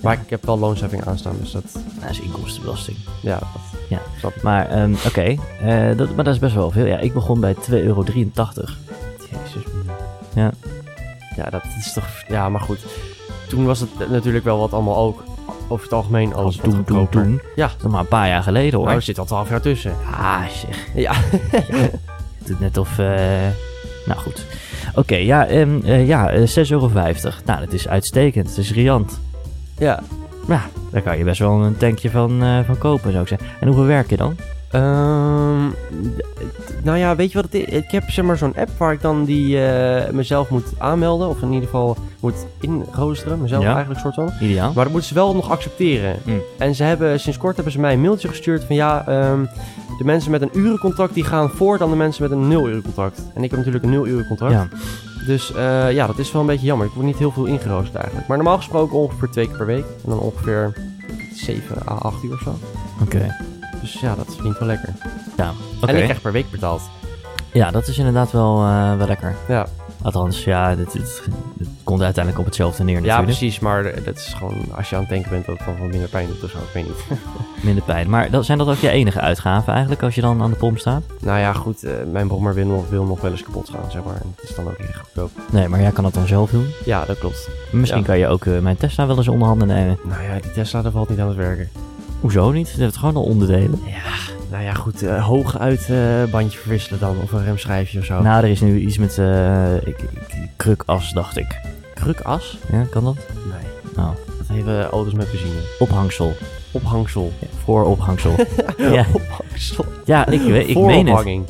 Maar ik heb wel loonsheffing aanstaan, dus dat,
Dat is inkomstenbelasting.
ja, dat
Ja.
snap ik.
Maar ehm, oké, eh, dat, maar dat is best wel veel. Ja, ik begon bij 2,83 euro.
Jezus.
Ja.
Ja, dat is toch, ja, maar goed. Toen was het natuurlijk wel wat allemaal ook, over het algemeen, alles wat
toen, toen,
goedkoper.
toen.
Ja.
Dat is nog maar een paar jaar geleden hoor.
Nou, er zit al 12 jaar tussen.
Ah, zeg.
Ja.
Het doet net of... eh, Nou goed. Oké, ja, ehm, eh, ja eh, 6,50 euro. Nou, dat is uitstekend. Dat is riant.
Ja.
Ja, daar kan je best wel een tankje van, eh, van kopen, zou ik zeggen. En hoeveel werk je dan?
Ehm, d- nou ja, weet je wat het is? Ik heb zeg maar zo'n app waar ik dan die eh, mezelf moet aanmelden. Of in ieder geval moet inroosteren. Mezelf
Ja.
eigenlijk soort van.
Ideaal.
Maar dat moeten ze wel nog accepteren.
Mm.
En ze hebben, sinds kort hebben ze mij een mailtje gestuurd van ja, ehm, de mensen met een urencontract die gaan voor dan de mensen met een nul urencontract. En ik heb natuurlijk een nul urencontract.
Ja.
Dus eh, ja, dat is wel een beetje jammer. Ik word niet heel veel ingeroosterd eigenlijk. Maar normaal gesproken ongeveer twee keer per week. En dan ongeveer 7 à 8 uur of zo.
Oké.
Dus ja, dat verdient wel lekker.
Ja, oké.
En ik krijg per week betaald.
Ja, dat is inderdaad wel, eh, wel lekker.
Ja,
Althans, ja, het, het, het komt uiteindelijk op hetzelfde neer
ja
natuurlijk.
precies. Maar eh, dat is gewoon, als je aan het denken bent, dat het dan wel minder pijn doet of zo. Ik weet niet.
Minder pijn. Maar dat, zijn dat ook je enige uitgaven eigenlijk als je dan aan de pomp staat?
nou ja, goed. eh, mijn brommer wil nog, wil nog wel eens kapot gaan, zeg maar. En het is dan ook weer goedkoop.
Nee, maar jij kan dat dan zelf doen.
Ja, dat klopt.
Misschien
Ja.
kan je ook eh, mijn Tesla wel eens onder handen nemen.
Nou ja, die Tesla daar valt niet aan het werken.
Hoezo niet? Het heeft gewoon al onderdelen.
Nou ja, goed. eh, hooguit eh, bandje verwisselen dan. Of een remschijfje of zo.
Nou, er is nu iets met eh, ik, ik- krukas, dacht ik.
krukas?
Ja, kan dat?
Nee.
Nou,
Dat hebben auto's met benzine.
ophangsel.
Ophangsel.
Ja, voor ophangsel. ja.
Ophangsel.
ja, ik, weet- ik meen het.
Voorophanging.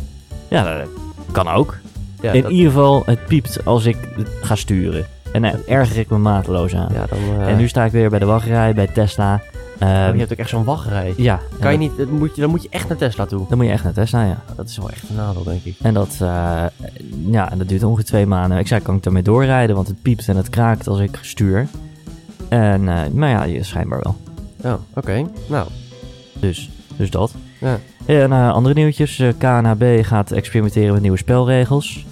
Ja, dat kan ook.
Ja,
In
dat-
ieder geval, het piept als ik het ga sturen. En dan erger ik me mateloos aan.
ja, dan... eh,
En nu sta ik weer bij de wachtrij, bij Tesla.
oh,
Ehm,
je hebt ook echt zo'n wachtrij.
ja,
Kan je
en
niet, dat moet je, dan moet je echt naar Tesla toe.
dat- Dan moet je echt naar Tesla, ja.
Dat is wel echt een nadeel, denk ik.
En dat, eh, ja, en dat duurt ongeveer twee maanden. Ik zei, kan ik daarmee doorrijden? Want het piept en het kraakt als ik stuur. En, eh, maar ja, je- schijnbaar wel.
Oh, oké. Nou,
Dus, dus dat.
Ja.
En eh, andere nieuwtjes. Eh, KNHB gaat experimenteren met nieuwe spelregels.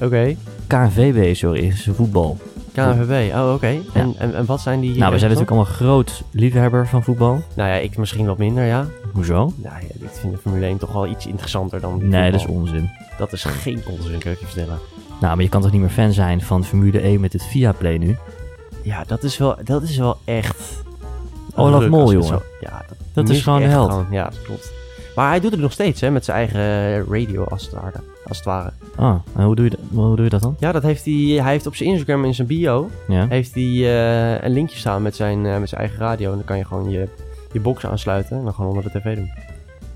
oké.
KNVB, sorry, is voetbal.
KNVB, oh oké. En, en, en wat zijn die...
nou, we zijn natuurlijk
regels dan?
allemaal groot liefhebber van voetbal.
Nou ja, ik misschien wat minder, ja.
Hoezo?
Nou ja, ik vind de Formule 1 toch wel iets interessanter dan...
Nee, dat is
voetbal.
onzin.
Dat is geen onzin, kan ik je vertellen.
Nou, maar je kan toch niet meer fan zijn van Formule 1 met het Viaplay nu? Ja, dat is wel, dat is wel echt... Olaf
Oh, Leuk
Mol,
als je het
jongen.
zo- ja, dat,
Dat is
mis ik
gewoon de
echt
held.
gewoon. Ja, klopt. Maar hij doet het nog steeds, hè, met zijn eigen radio als het ware. Als het ware.
Oh, en hoe doe je dat, hoe doe je dat dan?
Ja, dat heeft hij, hij heeft op zijn Instagram in zijn bio
Ja.
heeft hij, eh, een linkje staan met zijn, eh, met zijn eigen radio. En dan kan je gewoon je, je box aansluiten en dan gewoon onder de tv doen.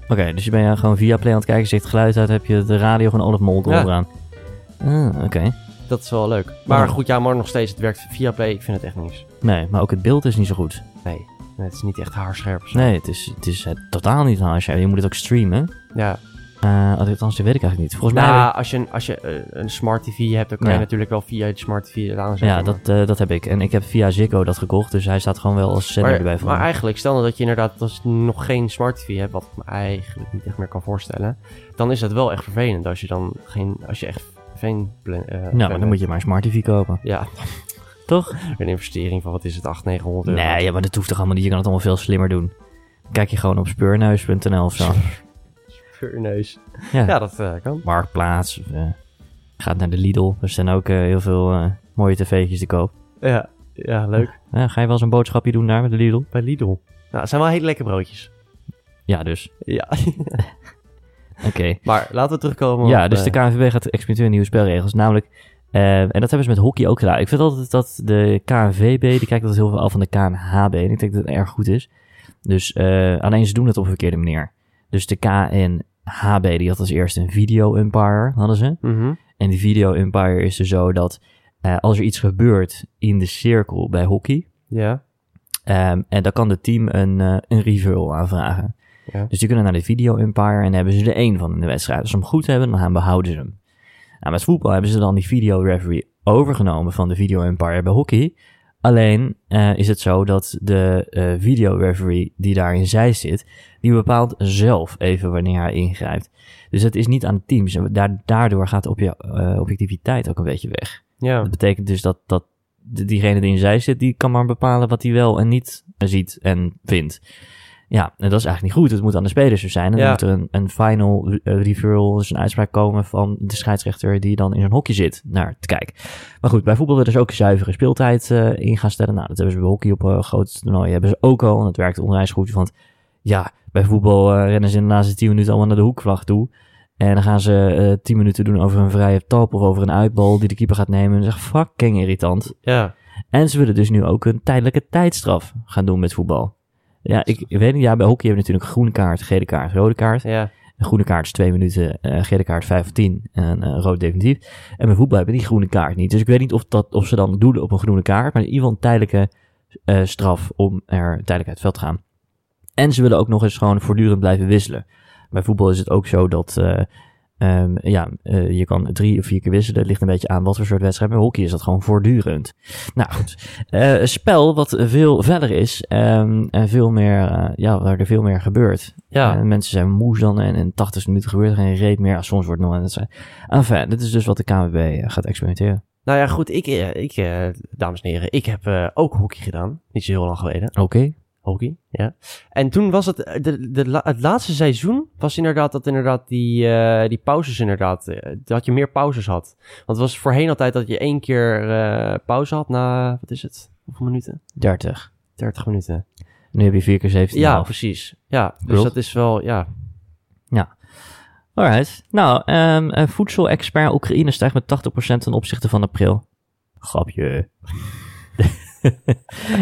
Oké, dus je bent ja gewoon via Play aan het kijken, zit het geluid uit, heb je de radio gewoon Olaf Mol
Ja.
eronder aan. Ah, Oké.
Dat is wel leuk. Maar
Ja.
goed, ja, maar nog steeds, het werkt via Play. Ik vind het echt niks.
Nee, maar ook het beeld is niet zo goed.
Nee, nee, het is niet echt haarscherp. of zo.
Nee, het is, het is eh, totaal niet haasje. Je moet het ook streamen.
Ja.
Eh althans, dat weet ik eigenlijk niet. Volgens mij...
Nou, als je, een, als je eh, een smart tv hebt, dan kan
Ja.
je natuurlijk wel via je smart tv het aanzetten.
Ja,
maar-
dat, eh, dat heb ik. En ik heb via Ziggo dat gekocht, dus hij staat gewoon wel als zender erbij
maar,
voor
maar
me.
eigenlijk, stel nou dat je inderdaad als je nog geen smart tv hebt, wat ik me eigenlijk niet echt meer kan voorstellen, dan is dat wel echt vervelend als je dan geen, als je echt geen plan, eh,
Nou,
plan
maar dan
hebt.
moet je maar een smart TV kopen.
Ja,
Toch?
een investering van wat is het, 800, 900 euro.
Nee, ja, maar dat hoeft toch allemaal niet. Je kan het allemaal veel slimmer doen. Kijk je gewoon op speurneus.nl of zo.
Verneus.
Ja.
Ja, dat eh, kan.
Marktplaats. Of, eh, gaat naar de Lidl. Er zijn ook eh, heel veel eh, mooie tv'tjes te koop.
Ja, ja leuk.
Ja, ga je wel eens een boodschapje doen daar met de Lidl?
Bij Lidl. Nou, het zijn wel hele lekkere broodjes.
Ja, dus.
Ja,
Oké.
maar laten we terugkomen
Ja,
op,
dus
eh,
de KNVB gaat experimenteren met nieuwe spelregels. Namelijk, eh, en dat hebben ze met hockey ook gedaan. Ik vind altijd dat de KNVB, die kijkt altijd heel veel af van de KNHB. En ik denk dat het erg goed is. Dus eh, alleen ze doen het op een verkeerde manier. Dus de KNHB, die had als eerste een video umpire, hadden ze.
mhm.
En die video umpire is er zo dat eh, als er iets gebeurt in de cirkel bij hockey...
Ja,
ehm, en dan kan het team een, eh, een reveal aanvragen.
ja.
Dus die kunnen naar de video umpire en dan hebben ze er één van in de wedstrijd. Als ze hem goed hebben, dan gaan behouden ze hem. Nou, met voetbal hebben ze dan die video referee overgenomen van de video umpire bij hockey. Alleen eh, is het zo dat de eh video referee die daar in zij zit, die bepaalt zelf even wanneer hij ingrijpt. Dus het is niet aan het team. Ze- daar- Daardoor gaat op je objectiviteit ook een beetje weg.
ja.
Dat betekent dus dat, dat de- diegene die in zij zit, die kan maar bepalen wat hij wel en niet ziet en vindt. Ja, en dat is eigenlijk niet goed. Het moet aan de spelers er zijn. En
Ja.
dan moet er een, een final eh, referral, dus een uitspraak komen van de scheidsrechter die dan in zo'n hokje zit naar te kijken. Maar goed, bij voetbal willen ze ook zuivere speeltijd eh, in gaan stellen. Nou, dat hebben ze bij hockey op eh, grote toernooien hebben ze ook al. En dat werkt onwijs goed, want ja, bij voetbal eh, rennen ze in de laatste 10 minuten allemaal naar de hoekvlag toe. En dan gaan ze eh 10 minuten doen over een vrije tap of over een uitbal die de keeper gaat nemen. En dat is echt fucking irritant.
ja.
En ze willen dus nu ook een tijdelijke tijdstraf gaan doen met voetbal. Ja, ik, ik weet niet. Ja, bij hockey hebben we natuurlijk groene kaart, gele kaart, rode kaart.
ja.
Een groene kaart is 2 minuten, eh gele kaart 5 of 10 en eh, rood definitief. En bij voetbal hebben die groene kaart niet. Dus ik weet niet of, dat, of ze dan doelen op een groene kaart, maar in ieder geval een tijdelijke eh, straf om er tijdelijk uit het veld te gaan. En ze willen ook nog eens gewoon voortdurend blijven wisselen. Bij voetbal is het ook zo dat eh, ehm, ja, eh, je kan drie of vier keer wisselen. Het ligt een beetje aan wat voor soort wedstrijd. Maar bij hockey is dat gewoon voortdurend. Nou goed, Eh, een spel wat veel verder is ehm, en veel meer, eh, ja, waar er veel meer gebeurt.
Ja.
En mensen zijn moe dan en in 80 minuten gebeurt er geen reet meer. Ja, soms wordt het nog aan het zijn. Enfin, dit is dus wat de KNVB eh, gaat experimenteren.
Nou ja, goed, ik, eh, ik eh, dames en heren, ik heb eh, ook hockey gedaan. Niet zo heel lang geleden.
Oké.
Hockey, ja. En toen was het, eh, de, de, la- het laatste seizoen was inderdaad dat inderdaad die, eh, die pauzes inderdaad, eh, dat je meer pauzes had. Want het was voorheen altijd dat je één keer eh, pauze had na, wat is het, hoeveel minuten?
30.
30 minuten.
Nu heb je 4 keer 17.
Ja, precies. Ja, dus
Klopt.
dat is wel, ja.
Alright. Nou, ehm een voedsel-expert Oekraïne stijgt met 80% ten opzichte van april. Grapje.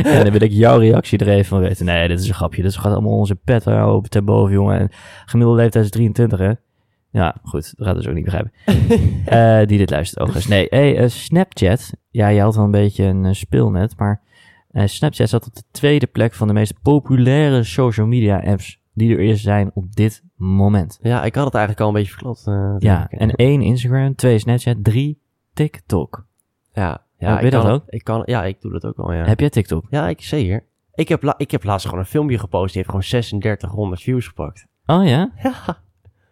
en dan wil ik jouw reactie er even van weten. Nee, dit is een grapje. Dit gaat allemaal onze pet op ten boven, jongen. En gemiddelde leeftijd is 23, hè? Ja, goed. Dat gaat dus ook niet begrijpen. Eh, die dit luistert overigens. Nee, hey, eh, Snapchat. Ja, je had wel een beetje een eh, speelnet, maar eh, Snapchat zat op de tweede plek van de meest populaire social media apps die er eerst zijn op dit moment.
Ja, ik had het eigenlijk al een beetje verklopt. eh,
Ja,
denk ik.
en één Instagram, twee Snapchat, drie TikTok.
ja,
Oh,
ja
ben je
kan
dat
het-
ook?
Ik kan, ja, ik doe dat ook al, ja.
Heb jij TikTok?
Ja, ik zeker. Ik heb, la- ik heb laatst gewoon een filmpje gepost. Die heeft gewoon 3600 views gepakt.
Oh ja?
Ja,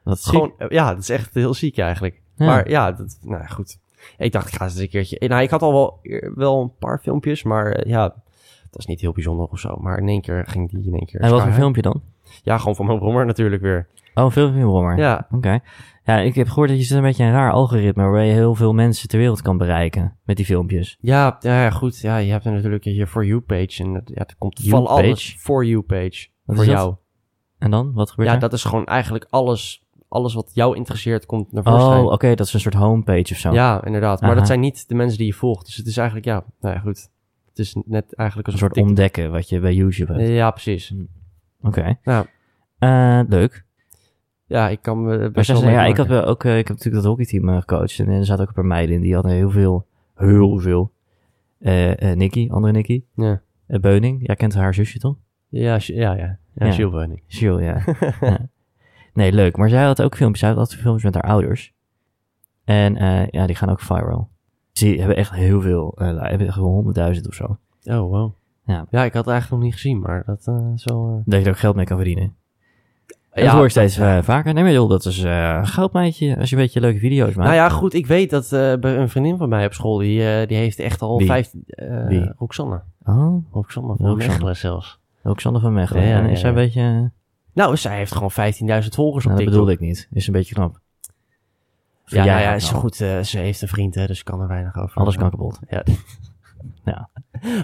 Wat ziek.
gewoon, eh, ja dat is echt heel ziek eigenlijk.
Ja.
Maar ja, dat, nou ja, goed. Ik dacht, ik ga eens een keertje. Nou, ik had al wel, wel een paar filmpjes, maar eh, ja, Dat is niet heel bijzonder of zo. Maar in één keer ging die in één keer.
En wat
sky
voor
high.
filmpje dan?
Ja, gewoon van mijn brommer natuurlijk weer.
Oh, een filmpje van Romer.
Ja,
Oké. Ja, ik heb gehoord dat je zit een beetje een raar algoritme waarbij je heel veel mensen ter wereld kan bereiken met die filmpjes.
ja, ja, ja, goed. Ja, je hebt er natuurlijk je For You page. En dat, ja, er komt
You
van alles.
page?
For You page.
Wat
voor
is dat?
jou.
En dan? Wat gebeurt
Ja,
er?
dat is gewoon eigenlijk alles, alles wat jou interesseert komt naar
Oh,
voren.
oké, dat is een soort homepage of zo.
Ja, inderdaad. Maar
Aha.
dat zijn niet de mensen die je volgt. Dus het is eigenlijk, ja, nou ja, goed. Het is net eigenlijk
een
als
soort
TikTok.
ontdekken wat je bij YouTube hebt.
Ja, precies.
Oké.
Ja.
Eh, leuk.
Ja, ik kan me
Maar
best
zij
wel
zei, ja,
mee
ik, had
maken.
wel ook, eh, ik heb natuurlijk dat hockeyteam eh, gecoacht. En er zaten ook een paar meiden in. Die hadden heel veel, heel veel. eh eh Nicky, andere Nicky.
Ja.
Eh, Beuning, jij kent haar zusje toch?
Ja, Sj- ja, ja. Ja,
Ja.
Jules Beuning.
Jill, ja. Ja. Nee, leuk. Maar zij had ook filmpjes. Zij had altijd filmpjes met haar ouders. En eh, ja, die gaan ook viral. Ze hebben echt heel veel, eh, li- hebben echt wel honderdduizend of zo.
Oh, wow.
Ja.
ja, ik had het eigenlijk nog niet gezien, maar dat eh is wel... eh,
Dat je er ook geld mee kan verdienen. En
ja,
dat hoor ik steeds eh, vaker. Nee, maar joh, dat is eh, een goudmijntje als je een beetje leuke video's maakt.
Nou ja, goed, ik weet dat eh, bij een vriendin van mij op school, die, eh, die heeft echt al
Wie?
vijf... eh,
Wie?
Roxanne.
Oh,
Roxanne van
Roxanne.
Mechelen zelfs.
ook Sander van Mechelen.
Ja,
en
ja,
is zij een
ja.
beetje... Nou,
Nou, zij heeft gewoon 15.000 volgers op
dat
TikTok.
bedoelde ik niet. Is een beetje knap.
Ja,
jij
nou ja,
ook
is
nog.
goed. eh, ze heeft een vriend, hè, dus kan er weinig over.
Alles kan kapot.
Ja.
Ja.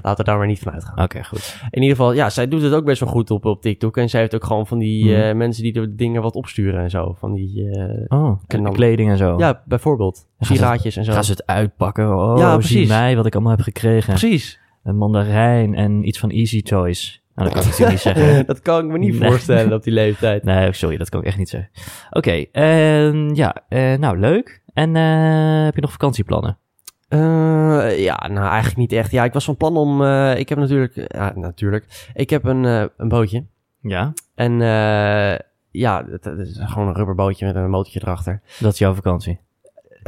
Laten we daar maar niet van uitgaan.
Oké, goed.
In ieder geval, ja, zij doet het ook best wel goed op, op TikTok. En zij heeft ook gewoon van die
Mhm.
eh, mensen die de dingen wat opsturen en zo. Van die, eh,
Oh,
En dan-
kleding en zo.
ja, bijvoorbeeld,
Gaan ze-
sieraadjes en zo.
Gaan ze het uitpakken? Oh,
Ja,
zie
precies.
mij wat ik allemaal heb gekregen.
Precies.
Een mandarijn en iets van Easy Choice. Nou, dat kan ik natuurlijk niet zeggen.
dat kan ik me niet
Nee.
voorstellen op die leeftijd.
Nee, sorry, dat kan ik echt niet zeggen. Oké, ehm, ja, eh, nou leuk. En eh, heb je nog vakantieplannen?
Eh, ja, nou eigenlijk niet echt. Ja, ik was van plan om... eh, ik heb natuurlijk... Ja, natuurlijk. Ik heb een, eh, een bootje.
Ja.
En eh, ja, het, het is gewoon een rubberbootje met een motortje erachter.
Dat is jouw vakantie.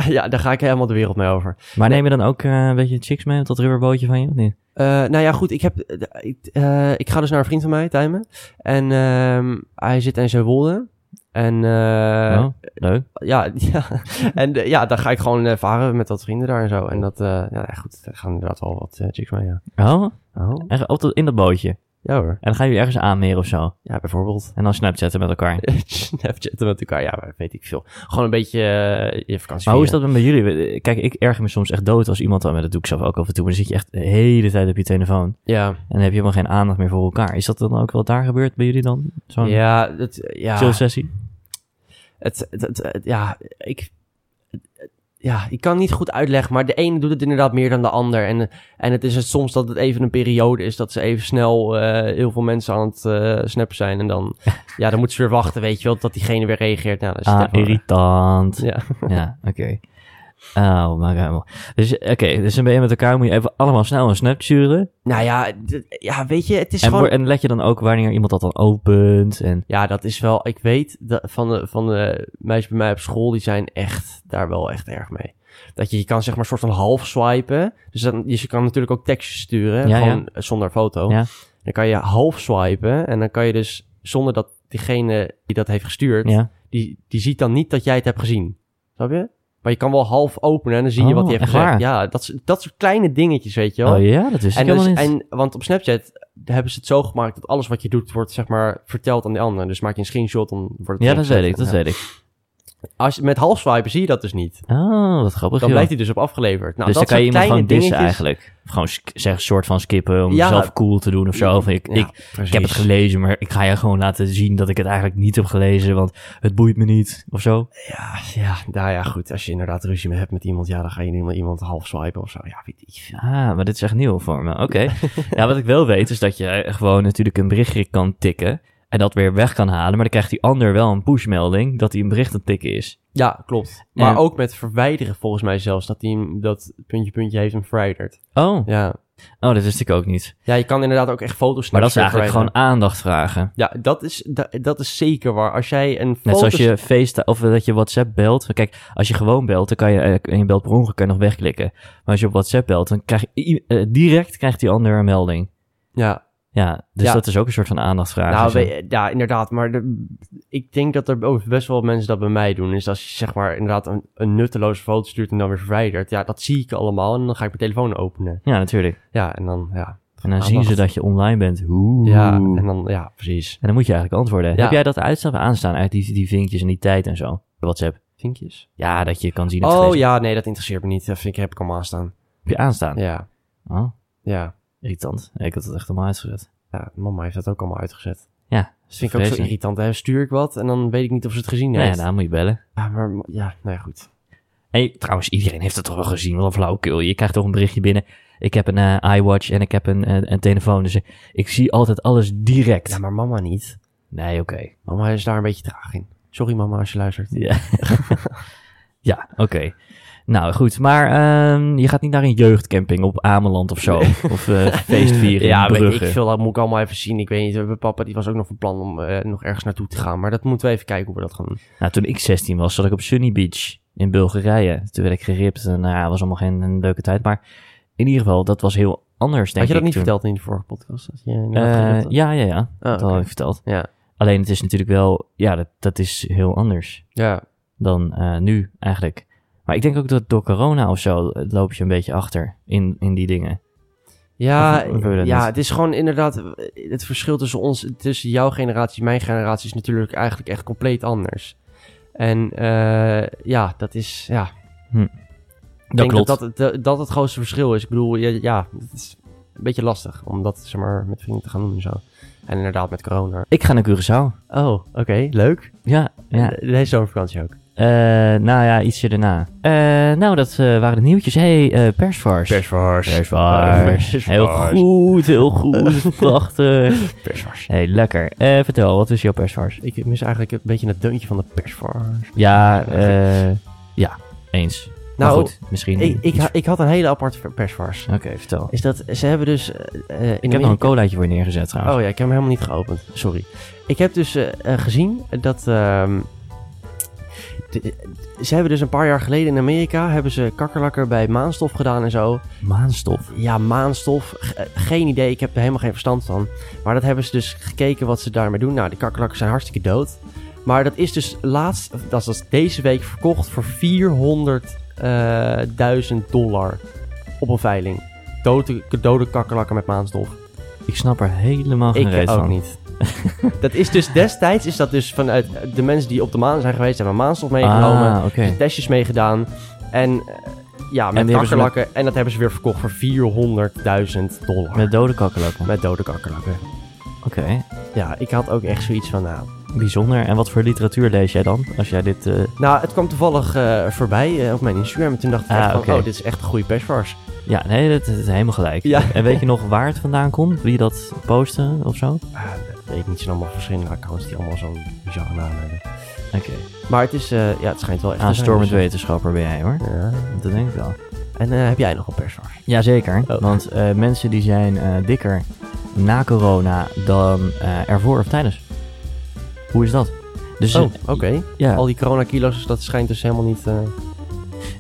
ja, daar ga ik helemaal de wereld mee over.
Maar neem je dan ook eh, een beetje chicks mee op dat rubberbootje van je? of niet?
Eh, nou ja, goed. Ik, heb, eh, ik, eh, ik ga dus naar een vriend van mij, Tijmen. En ehm, hij zit in Zeewolde. En, eh,
Oh, leuk.
ja, ja. en eh, ja, daar ga ik gewoon eh, varen met wat vrienden daar en zo. En dat, eh, ja, goed, daar gaan inderdaad wel wat eh, chicks mee, ja.
Oh,
Oh.
echt op dat, in dat bootje. En
Ja hoor,
dan gaan jullie ergens aanmeren of zo.
ja, bijvoorbeeld.
En dan snapchatten met elkaar.
Snapchatten met elkaar, ja, weet ik veel. Gewoon een beetje eh, je vakantie
Maar hoe is
vieren.
dat dan bij jullie? Kijk, ik erger me soms echt dood als iemand dan... maar Dat doe ik zelf ook af en toe. Maar dan zit je echt de hele tijd op je telefoon.
Ja,
En dan heb je helemaal geen aandacht meer voor elkaar. Is dat dan ook wel daar gebeurd bij jullie dan? Zo'n
ja, dat, ja.
chill sessie?
Het, het, het- het- ja, ik, ja, ik kan niet goed uitleggen, maar de ene doet het inderdaad meer dan de ander. En, en het is het soms dat het even een periode is dat ze even snel eh, heel veel mensen aan het eh, snappen zijn. En dan, ja, dan moeten ze weer wachten, weet je wel, dat diegene weer reageert. Nou, dat is het
Ah,
even-
irritant.
Ja.
Ja, oké. Oh, maar helemaal. Dus oké, dus dan ben je met elkaar, moet je even allemaal snel een snap sturen.
Nou ja, d- ja, weet je, het is
En,
gewoon...
wo- en let je dan ook wanneer iemand dat dan opent. En,
Ja, dat is wel... Ik weet dat van de, van de meisjes bij mij op school, die zijn echt daar wel echt erg mee. Dat je, je kan zeg maar soort van half swipen. Dus dan, dus je kan natuurlijk ook tekstjes sturen,
Ja,
gewoon eh, zonder foto.
Ja.
Dan kan je half swipen en dan kan je dus zonder dat diegene die dat heeft gestuurd,
ja.
die, die ziet dan niet dat jij het hebt gezien. Snap je? Maar je kan wel half openen en dan zie je
Oh,
wat hij heeft
echt
gezegd.
waar?
Ja, dat, is- dat soort kleine dingetjes, weet je wel.
Oh ja, dat is
En,
helemaal
dus-
niet.
en want op Snapchat hebben ze het zo gemaakt dat alles wat je doet wordt zeg maar verteld aan de ander. Dus maak je een screenshot, dan wordt het
ja, dat weet ik,
ingezet.
dat
Ja.
weet ik.
Als je- met half swipen zie je dat dus niet.
Oh, wat grappig.
Dan
joh.
blijft hij dus op afgeleverd. Nou,
dus dan
dat
kan je
soort
iemand gewoon
kleine
dissen
dingetjes-
eigenlijk. Gewoon sk- zeg, een soort van skippen om
Ja.
zelf cool te doen of zo. Van, ik,
Ja,
ik, ik heb het
precies.
gelezen, maar ik ga je gewoon laten zien dat ik het eigenlijk niet heb gelezen, want het boeit me niet of zo.
Ja, ja, nou ja, goed. Als je inderdaad ruzie mee hebt met iemand, ja, dan ga je iemand, iemand half swipen of zo. Ja, weet ik veel.
Ah, maar dit is echt nieuw voor me. Oké. ja, wat ik wel weet is dat je gewoon natuurlijk een berichtje kan tikken en dat weer weg kan halen, maar dan krijgt die ander wel een pushmelding dat hij een bericht aan het tikken is.
Ja, klopt. Maar
En-
ook met verwijderen volgens mij zelfs. Dat hij hem- dat puntje puntje heeft hem verwijderd.
Oh,
Ja.
oh, dat wist ik ook niet.
ja, je kan inderdaad ook echt foto's
Maar dat is
snapsen
eigenlijk gewoon
verwijderen.
aandacht vragen.
Ja, dat is, da- dat is zeker waar. Als jij een
Net
foto...
zoals je Facetime of dat je WhatsApp belt. Kijk, als je gewoon belt, dan kan je, eh, en je belt per ongeluk, kan je nog wegklikken. Maar als je op WhatsApp belt, dan krijg je i- eh, direct krijgt die ander een melding.
Ja,
Ja, dus
Ja.
dat is ook een soort van aandachtvraag.
Nou,
Dus dan-
we- ja, inderdaad. Maar de- ik denk dat er ook best wel mensen dat bij mij doen. Is als je zeg maar inderdaad een, een nutteloze foto stuurt en dan weer verwijdert. Ja, dat zie ik allemaal en dan ga ik mijn telefoon openen.
Ja, natuurlijk.
Ja, en dan, ja.
En dan zien
Aandacht.
ze dat je online bent. Oeh.
Ja,
en,
en
dan...
dan, ja, precies.
moet je eigenlijk antwoorden.
Ja.
Heb jij dat uitstaan of aanstaan uit die, die vinkjes en die tijd en zo? WhatsApp.
Vinkjes.
Ja, dat je kan zien of het
Oh
gelezen
ja, nee, dat interesseert me niet. Dat vind ik, heb ik allemaal aanstaan.
is. Heb je aanstaan?
Ja,
Oh,
ja.
irritant. Nee, ik had het echt allemaal uitgezet.
ja mama heeft dat ook allemaal uitgezet.
Ja,
Dat vind ik ook zo
vreselijk.
irritant. Hè? Stuur ik wat en dan weet ik niet of ze het gezien
Nee,
heeft.
nou moet je bellen.
Ja, maar ja, nou ja, goed.
En je- trouwens, iedereen heeft het toch wel gezien. Wat een flauwekul. Je krijgt toch een berichtje binnen. Ik heb een eh, iWatch en ik heb een, eh, een telefoon. Dus eh, ik zie altijd alles direct.
Ja, maar mama niet.
Nee, oké.
Mama is daar een beetje traag in. Sorry mama als je luistert.
Ja, ja oké. Nou goed, maar ehm, je gaat niet naar een jeugdcamping op Ameland of zo. Of eh feestvieren
ja,
in
weet ik
Brugge.
veel. Dat moet ik allemaal even zien. Ik weet niet. eh, Papa die was ook nog van plan om eh, nog ergens naartoe te gaan. Maar dat moeten we even kijken hoe we dat gaan doen.
Nou, toen ik 16 was, zat ik op Sunny Beach in Bulgarije. Toen werd ik geript en nou ja, was allemaal geen een leuke tijd. Maar in ieder geval, dat was heel anders, denk
Had je
ik
dat niet
toen.
verteld in de vorige podcast? Dat je
Eh,
inderdaad geript had?
ja, ja, ja.
Ah,
Dat
oké.
had ik verteld.
ja.
Alleen het is natuurlijk wel, ja, dat, dat is heel anders
Ja.
dan eh, nu eigenlijk. Maar ik denk ook dat door corona of zo eh, loop je een beetje achter in, in die dingen.
Ja,
Of- of wil je dat
ja
niet?
het is gewoon inderdaad... Het verschil tussen ons, tussen jouw generatie en mijn generatie... is natuurlijk eigenlijk echt compleet anders. En eh, ja, dat is... Ja,
Dat
ik denk
klopt.
dat dat, dat dat het grootste verschil is. Ik bedoel, ja, ja, het is een beetje lastig om dat zeg maar, met vrienden te gaan doen en zo. En inderdaad met corona.
Ik ga naar Curaçao.
Oh, oké, leuk.
Ja, ja.
Deze zomervakantie ook.
Eh, nou ja, ietsje daarna. Eh, nou, dat eh, waren de nieuwtjes. hey, eh persvars.
Persvars.
Persvars.
Persvars.
Heel goed, heel goed. Prachtig.
Persvars.
hey, lekker. Eh, vertel, wat is jouw persvars?
Ik mis eigenlijk een beetje het deuntje van de persvars.
Ja, eh, ja, eens. Nou,
Nou,
goed, misschien.
ik, ik,
iets-
ha- ik had een hele aparte persvars.
Oké, vertel.
Is dat, ze hebben dus... eh, eh, in
Ik heb nog een colaatje voor je neergezet trouwens.
Oh ja, ik heb hem helemaal niet geopend. Sorry. Ik heb dus eh, eh, gezien dat... ehm, de- ze hebben dus een paar jaar geleden in Amerika... hebben ze kakkerlakker bij maanstof gedaan en zo.
Oh. Maanstof.
Ja, maanstof. ge- eh, geen idee. Ik heb er helemaal geen verstand van. Maar dat hebben ze dus gekeken wat ze daarmee doen. Nou, die kakkerlakkers zijn hartstikke dood. Maar dat is dus laatst... Dat is deze week verkocht voor 400.000 dollar. Op een veiling. Dode, dode kakkerlakken met maanstof.
Ik snap er helemaal geen
Ik
reet
ook
van.
niet. dat is dus destijds is dat dus vanuit de mensen die op de maan zijn geweest, hebben maanstof meegenomen,
Ah, oké.
Dus testjes meegedaan en eh, ja, met
hebben ze
kakkerlakken. En dat hebben ze weer verkocht voor 400.000 dollar. Met,
Met dode kakkerlakken.
dode kakkerlakken.
Oké,
Ja, ik had ook echt zoiets van, nou...
bijzonder. En wat voor literatuur lees jij dan? Als jij dit... eh,
Nou, het kwam toevallig eh, voorbij eh, op mijn Instagram en toen dacht ik
Ah,
echt van,
oké.
oh, dit is echt een goede persvars.
Ja, nee, dat, dat is helemaal gelijk.
Ja.
En weet je nog waar het vandaan komt? Wie dat postte of zo? Oké.
Ah, dat weet ik niet, het zijn allemaal verschillende accounts die allemaal zo'n bizarre naam hebben. Maar het is, eh, ja, het schijnt wel echt te zijn,
Aanstormend
dus-
wetenschapper ben jij hoor.
Ja.
Dat denk ik wel.
En eh, heb jij nog een persvars?
Jazeker,
Oh.
want eh, mensen die zijn eh, dikker na corona dan eh, ervoor of tijdens. Hoe is dat? Dus,
Oh,
eh,
oké.
ja.
Al die coronakilo's, dat schijnt dus helemaal niet... eh,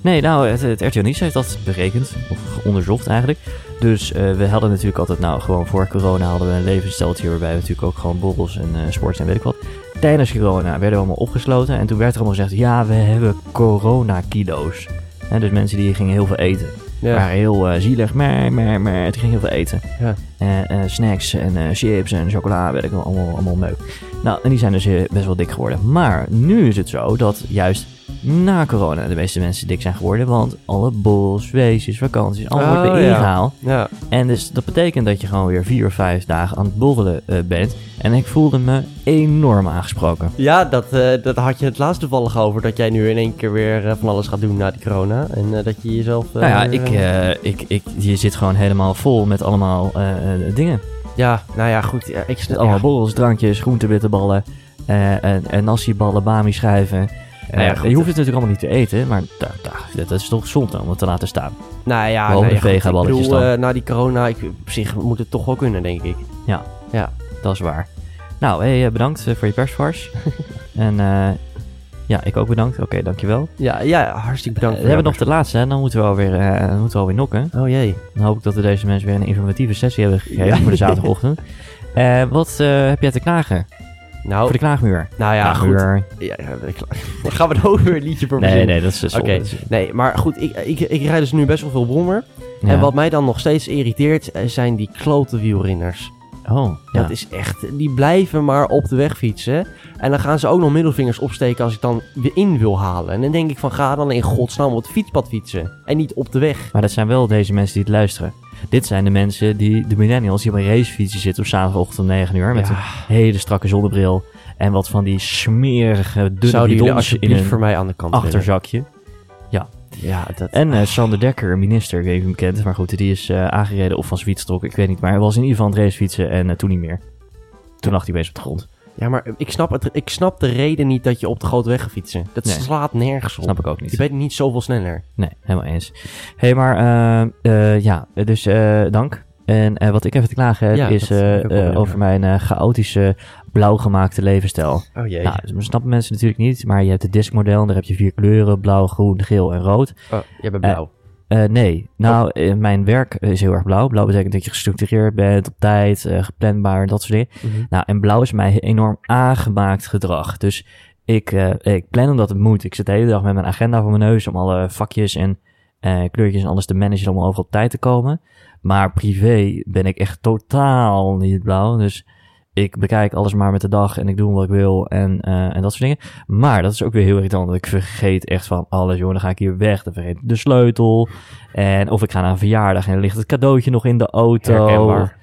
Nee, nou, het, het RTL Nieuws heeft dat berekend, of onderzocht eigenlijk. Dus eh, we hadden natuurlijk altijd, nou, gewoon voor corona hadden we een levensstijltje waarbij we natuurlijk ook gewoon borrels en eh, sports en weet ik wat. Tijdens corona werden we allemaal opgesloten en toen werd er allemaal gezegd, ja, we hebben corona-kilo's. Hè, dus mensen die gingen heel veel eten.
ja.
Waren heel eh, zielig, maar, maar, maar, het ging heel veel eten.
Ja.
Eh, eh, snacks en eh, chips en chocola, weet ik wel, allemaal, allemaal meuk. Nou, en die zijn dus eh, best wel dik geworden. Maar nu is het zo dat juist na corona de meeste mensen dik zijn geworden. Want alle borrels, feestjes, vakanties, allemaal
Oh,
wordt erin
ja.
gehaald.
ja.
En dus dat betekent dat je gewoon weer vier of vijf dagen aan het borrelen eh, bent. En ik voelde me enorm aangesproken.
Ja, dat, eh, dat had je het laatst toevallig over. Dat jij nu in één keer weer eh, van alles gaat doen na die corona. En eh, dat je jezelf... eh,
nou ja, ik,
eh,
eh, ik, ik, je zit gewoon helemaal vol met allemaal eh, eh, dingen.
ja, nou ja, goed. ja, ik snap...
Met allemaal
ja.
borrels, drankjes, groentewitteballen, eh en, en nasiballen, bami schijven.
Nou ja, goed.
je hoeft het natuurlijk allemaal niet te eten, maar da- da- dat is toch zonde om het te laten staan.
Nou ja,
Behalve
nou
de
ja, goed,
vegaballetjes
Ik bedoel,
dan.
eh, na die corona, ik, op zich moet het toch wel kunnen, denk ik.
Dat is waar. Nou, hey, eh, bedankt eh, voor je persvars. en eh, ja, ik ook bedankt. Oké, dankjewel.
Ja, ja hartstikke bedankt.
Eh, we
voor
hebben nog
jou,
de laatste, hè? dan moeten we alweer, eh, moeten we alweer nokken.
maar- Oh jee.
Dan hoop ik dat we deze mensen weer een informatieve sessie hebben gegeven
Ja.
voor de zaterdagochtend. Eh, wat eh, heb jij te klagen?
Nou,
Voor de klaagmuur.
nou ja, goed.
Klaagmuur.
Ja, ja, ik- Dan gaan we er ook weer een liedje voor
Nee,
verzinnen.
nee, dat is dus
Oké, nee, maar goed, ik, ik, ik rijd dus nu best wel veel brommer. En wat mij dan nog steeds irriteert, eh, zijn die klote wielrenners.
Oh, ja.
Dat is echt, die blijven maar op de weg fietsen. En dan gaan ze ook nog middelvingers opsteken als ik dan weer in wil halen. En dan denk ik van, ga dan in godsnaam op het fietspad fietsen. En niet op de weg.
Maar dat zijn wel deze mensen die het luisteren. Dit zijn de mensen, die, de millennials, die op een racefietsje zitten op zaterdagochtend om 9 uur. Met
Ja.
een hele strakke zonnebril. En wat van die smerige, dunne
Zouden jullie
bidons in
alsjeblieft voor
een
mij aan de kant willen?
achterzakje.
Ja, dat...
En eh, Sander Dekker, minister, ik weet niet of je hem kent. Maar goed, die is eh, aangereden of van zijn fiets getrokken, ik weet niet. Maar hij was in ieder geval aan het racefietsen en eh, toen niet meer. Toen lag hij bezig op de grond.
ja, maar ik snap, het, ik snap de reden niet dat je op de grote weg gaat fietsen. Dat
Nee.
slaat nergens op.
Snap ik ook
Je
niet.
bent niet zoveel sneller.
Nee, helemaal eens. Hé, hey, maar eh, eh, ja, dus eh, dank. En eh, wat ik even te klagen heb,
Ja,
is
dat
eh,
heb ik ook wel
eh,
weer,
over
ja.
mijn eh, chaotische, blauw gemaakte levensstijl.
Oh jee.
Nou, dat snappen mensen natuurlijk niet, maar je hebt het diskmodel en daar heb je vier kleuren, blauw, groen, geel en rood.
oh, jij bent blauw.
Eh, nee, nou, eh, mijn werk is heel erg blauw. Blauw betekent dat je gestructureerd bent, op tijd, eh, geplanbaar en dat soort dingen.
Mhm.
Nou, en blauw is mij enorm aangemaakt gedrag. Dus ik, eh, ik plan omdat het moet. Ik zit de hele dag met mijn agenda voor mijn neus om alle vakjes en eh, kleurtjes en alles te managen om overal op tijd te komen. Maar privé ben ik echt totaal niet blauw. Dus ik bekijk alles maar met de dag en ik doe wat ik wil en, eh, en dat soort dingen. Maar dat is ook weer heel irritant. Want ik vergeet echt van alles, joh. Dan ga ik hier weg. Dan vergeet ik de sleutel. En of ik ga naar een verjaardag en er ligt het cadeautje nog in de auto.
Herkenbaar.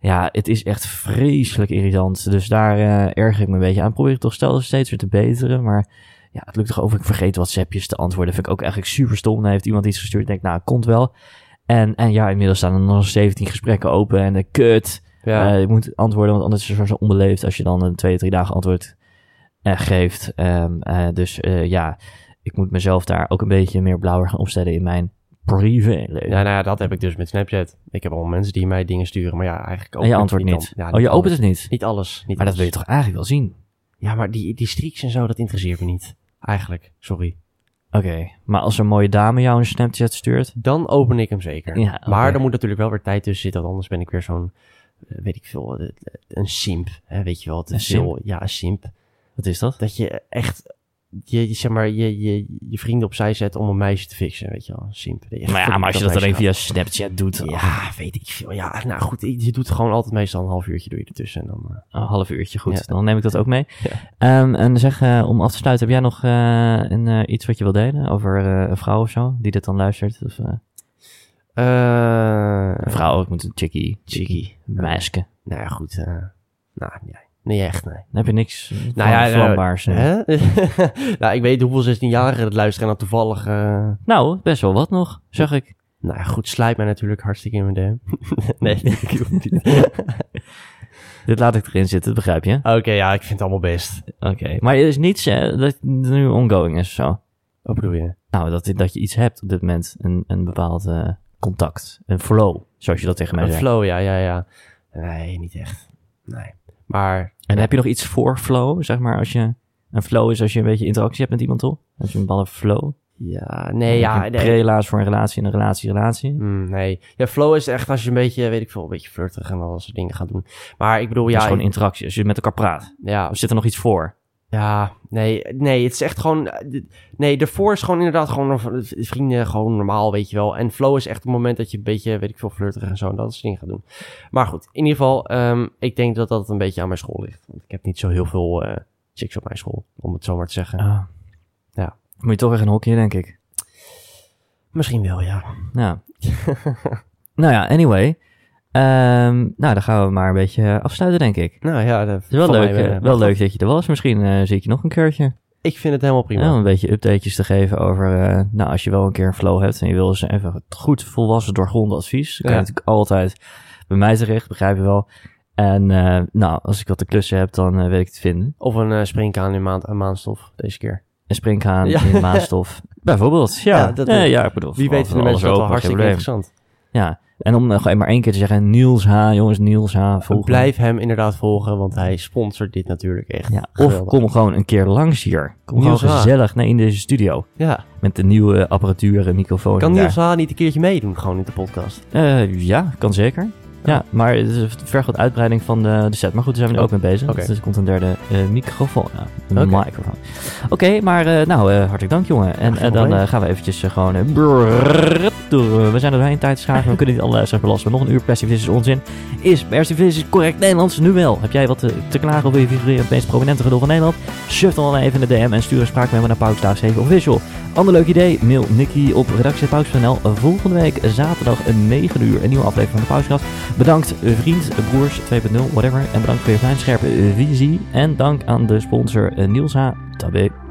Ja, het is echt vreselijk irritant. Dus daar eh, erger ik me een beetje aan. Probeer ik toch stel- steeds weer te beteren. Maar ja, het lukt toch over. Ik vergeet WhatsAppjes te antwoorden. vind ik ook eigenlijk super stom. Dan heeft iemand iets gestuurd. Ik denk, nou, het komt wel. En, en ja, inmiddels staan er nog 17 gesprekken open. En de kut.
Ja.
Eh, je moet antwoorden, want anders is het zo onbeleefd als je dan een twee, drie dagen antwoord eh, geeft. Ehm, eh, dus eh, ja, ik moet mezelf daar ook een beetje meer blauwer gaan opstellen in mijn privéleven.
Ja, nou ja, dat heb ik dus met Snapchat. Ik heb al mensen die mij dingen sturen, maar ja, eigenlijk ook.
en je antwoordt niet. oh, je opent het niet.
Niet alles. Niet
Maar dat wil je
alles.
toch eigenlijk wel zien?
Ja, maar die, die streaks en zo, dat interesseert me niet. Eigenlijk, sorry.
Oké, maar als een mooie dame jou een Snapchat stuurt...
Dan open ik hem zeker.
Ja, oké.
Maar er moet natuurlijk wel weer tijd tussen zitten, want anders ben ik weer zo'n, eh, weet ik veel, eh, een simp. Hè, weet je wel, te
Een simp?
veel. Ja, een simp.
Wat is dat?
Dat je echt, je, je- zeg maar, je, je, je vrienden opzij zet om een meisje te fixen, weet je wel. Een simp. Dat je echt
Maar ja,
voor-
maar als je dat
meisje
alleen
gaat.
via Snapchat doet... Ja.
Ja, weet ik veel. Ja, nou goed, je doet gewoon altijd meestal een half uurtje doe je ertussen. En dan, eh,
Een half uurtje, goed.
Ja.
Dan neem ik dat ook mee.
Ja.
Ehm, en zeg, eh, om af te sluiten, heb jij nog eh, een, eh, iets wat je wil delen over eh, een vrouw of zo? Die dit dan luistert? Of, eh, een
Eh
vrouw, ik moet een chickie.
Chickie.
Een meisje.
Nou ja, goed. eh, nou, nee, nee, echt, nee.
Dan heb je niks
Nou
nou
ja,
ja,
nou,
vlambaars. eh.
Hè? nou, ik weet hoeveel 16-jarigen dat luisteren en dan toevallig... eh,
Nou, best wel wat nog, zeg ik.
nou ja, goed, slijt mij natuurlijk hartstikke in mijn DM. nee, ik doe het niet.
Dit laat ik erin zitten, dat begrijp je?
Oké, ja, ik vind het allemaal best.
Ah, Oké. Maar er is niets eh, dat nu ongoing is of zo.
Wat bedoel je?
Nou, dat, dat je iets hebt op dit moment. Een, een bepaald eh, contact. Een flow, zoals je dat tegen mij
Een
zegt.
flow, ja, ja, ja. Nee, niet echt. Nee. Maar
En heb je nog iets voor flow, zeg maar, als je... Een flow is als je een beetje interactie hebt met iemand, toch? Als je een bepaalde flow.
ja, nee, ja,
Een
nee.
Prelaas voor een relatie en een relatie, relatie.
Mm, nee. Ja, flow is echt als je een beetje, weet ik veel, een beetje flirtig en al dat soort dingen gaat doen. Maar ik bedoel,
Ja,
ja,
is gewoon interactie. Als je met elkaar praat.
ja,
Of zit er nog iets voor?
Ja, nee, nee, het is echt gewoon... eh, d- Nee, daarvoor is gewoon inderdaad gewoon v- vrienden, gewoon normaal, weet je wel. En flow is echt het moment dat je een beetje, weet ik veel, flirterig en zo en dat soort dingen gaat doen. Maar goed, in ieder geval, ehm, ik denk dat dat een beetje aan mijn school ligt. Want ik heb niet zo heel veel eh, chicks op mijn school, om het zo maar te zeggen.
Ah.
Ja.
Moet je toch weer een hokje, denk ik.
Misschien wel, ja.
Ja. nou ja, anyway. Ehm, nou, dan gaan we maar een beetje afsluiten, denk ik.
Nou ja, dat
Het is wel,
van mij
leuk,
weer,
eh,
eh,
wel leuk dat je er was. Misschien eh zie ik je nog een keertje.
Ik vind het helemaal prima.
Ja, om een beetje updatejes te geven over... eh, nou, als je wel een keer een flow hebt en je wil eens even het goed volwassen doorgronden advies. Dan kan je
Ja.
natuurlijk altijd bij mij terecht, begrijp je wel. En eh, nou, als ik wat te klussen heb, dan eh, weet ik het te vinden.
Of een eh springkaan in maand, aan maanstof, deze keer.
Een springhaan
Ja.
in maanstof. Bijvoorbeeld, ja.
Ja, dat-
nee, ja, ik bedoel,
Wie
van-
weet
van
vinden mensen
alles
dat wel
open, geen
hartstikke
probleem.
interessant.
Ja, en om nog maar één keer te zeggen, Niels H, jongens, Niels H, volg me.
Blijf hem inderdaad volgen, want hij sponsort dit natuurlijk echt.
Ja, of
Geweldig.
kom gewoon een keer langs hier. Kom
Niels
gewoon
H.
gezellig naar in deze studio.
Ja.
Met de nieuwe apparatuur en microfoon.
Kan
en
Niels Haan niet een keertje meedoen, gewoon in de podcast?
daar. Eh, ja, kan zeker. Ja, maar het is ver wat uitbreiding van de, de set. Maar goed, daar zijn we nu ook mee bezig.
Oh, oké.
Dus er komt een derde eh, microfoon. Nou, een
Oké.
microfoon. Oké, maar eh, nou, eh, hartelijk dank jongen. En
geen
eh, dan
probleem.
eh, gaan we eventjes eh, gewoon... eh, brrrr door. We zijn er doorheen tijd schagen. We kunnen niet alle luisteraars belasten. Nog een uur Persivis is onzin. Is Persivis correct Nederlands? Nu wel. Heb jij wat te, te klagen of wil je figureren op het meest prominente gedoe van Nederland? Surf dan wel even in de DM en stuur een spraakmemo naar Pauwstaaf 7 Official. Ander leuk idee? Mail Nicky op redactie.pauws.nl. Volgende week zaterdag 9 uur een nieuwe aflevering van de Pauwskast. Bedankt eh, vriend, eh, broers 2.0, whatever. En bedankt voor je fijn scherpe eh, visie. En dank aan de sponsor eh, Niels H. Tabé.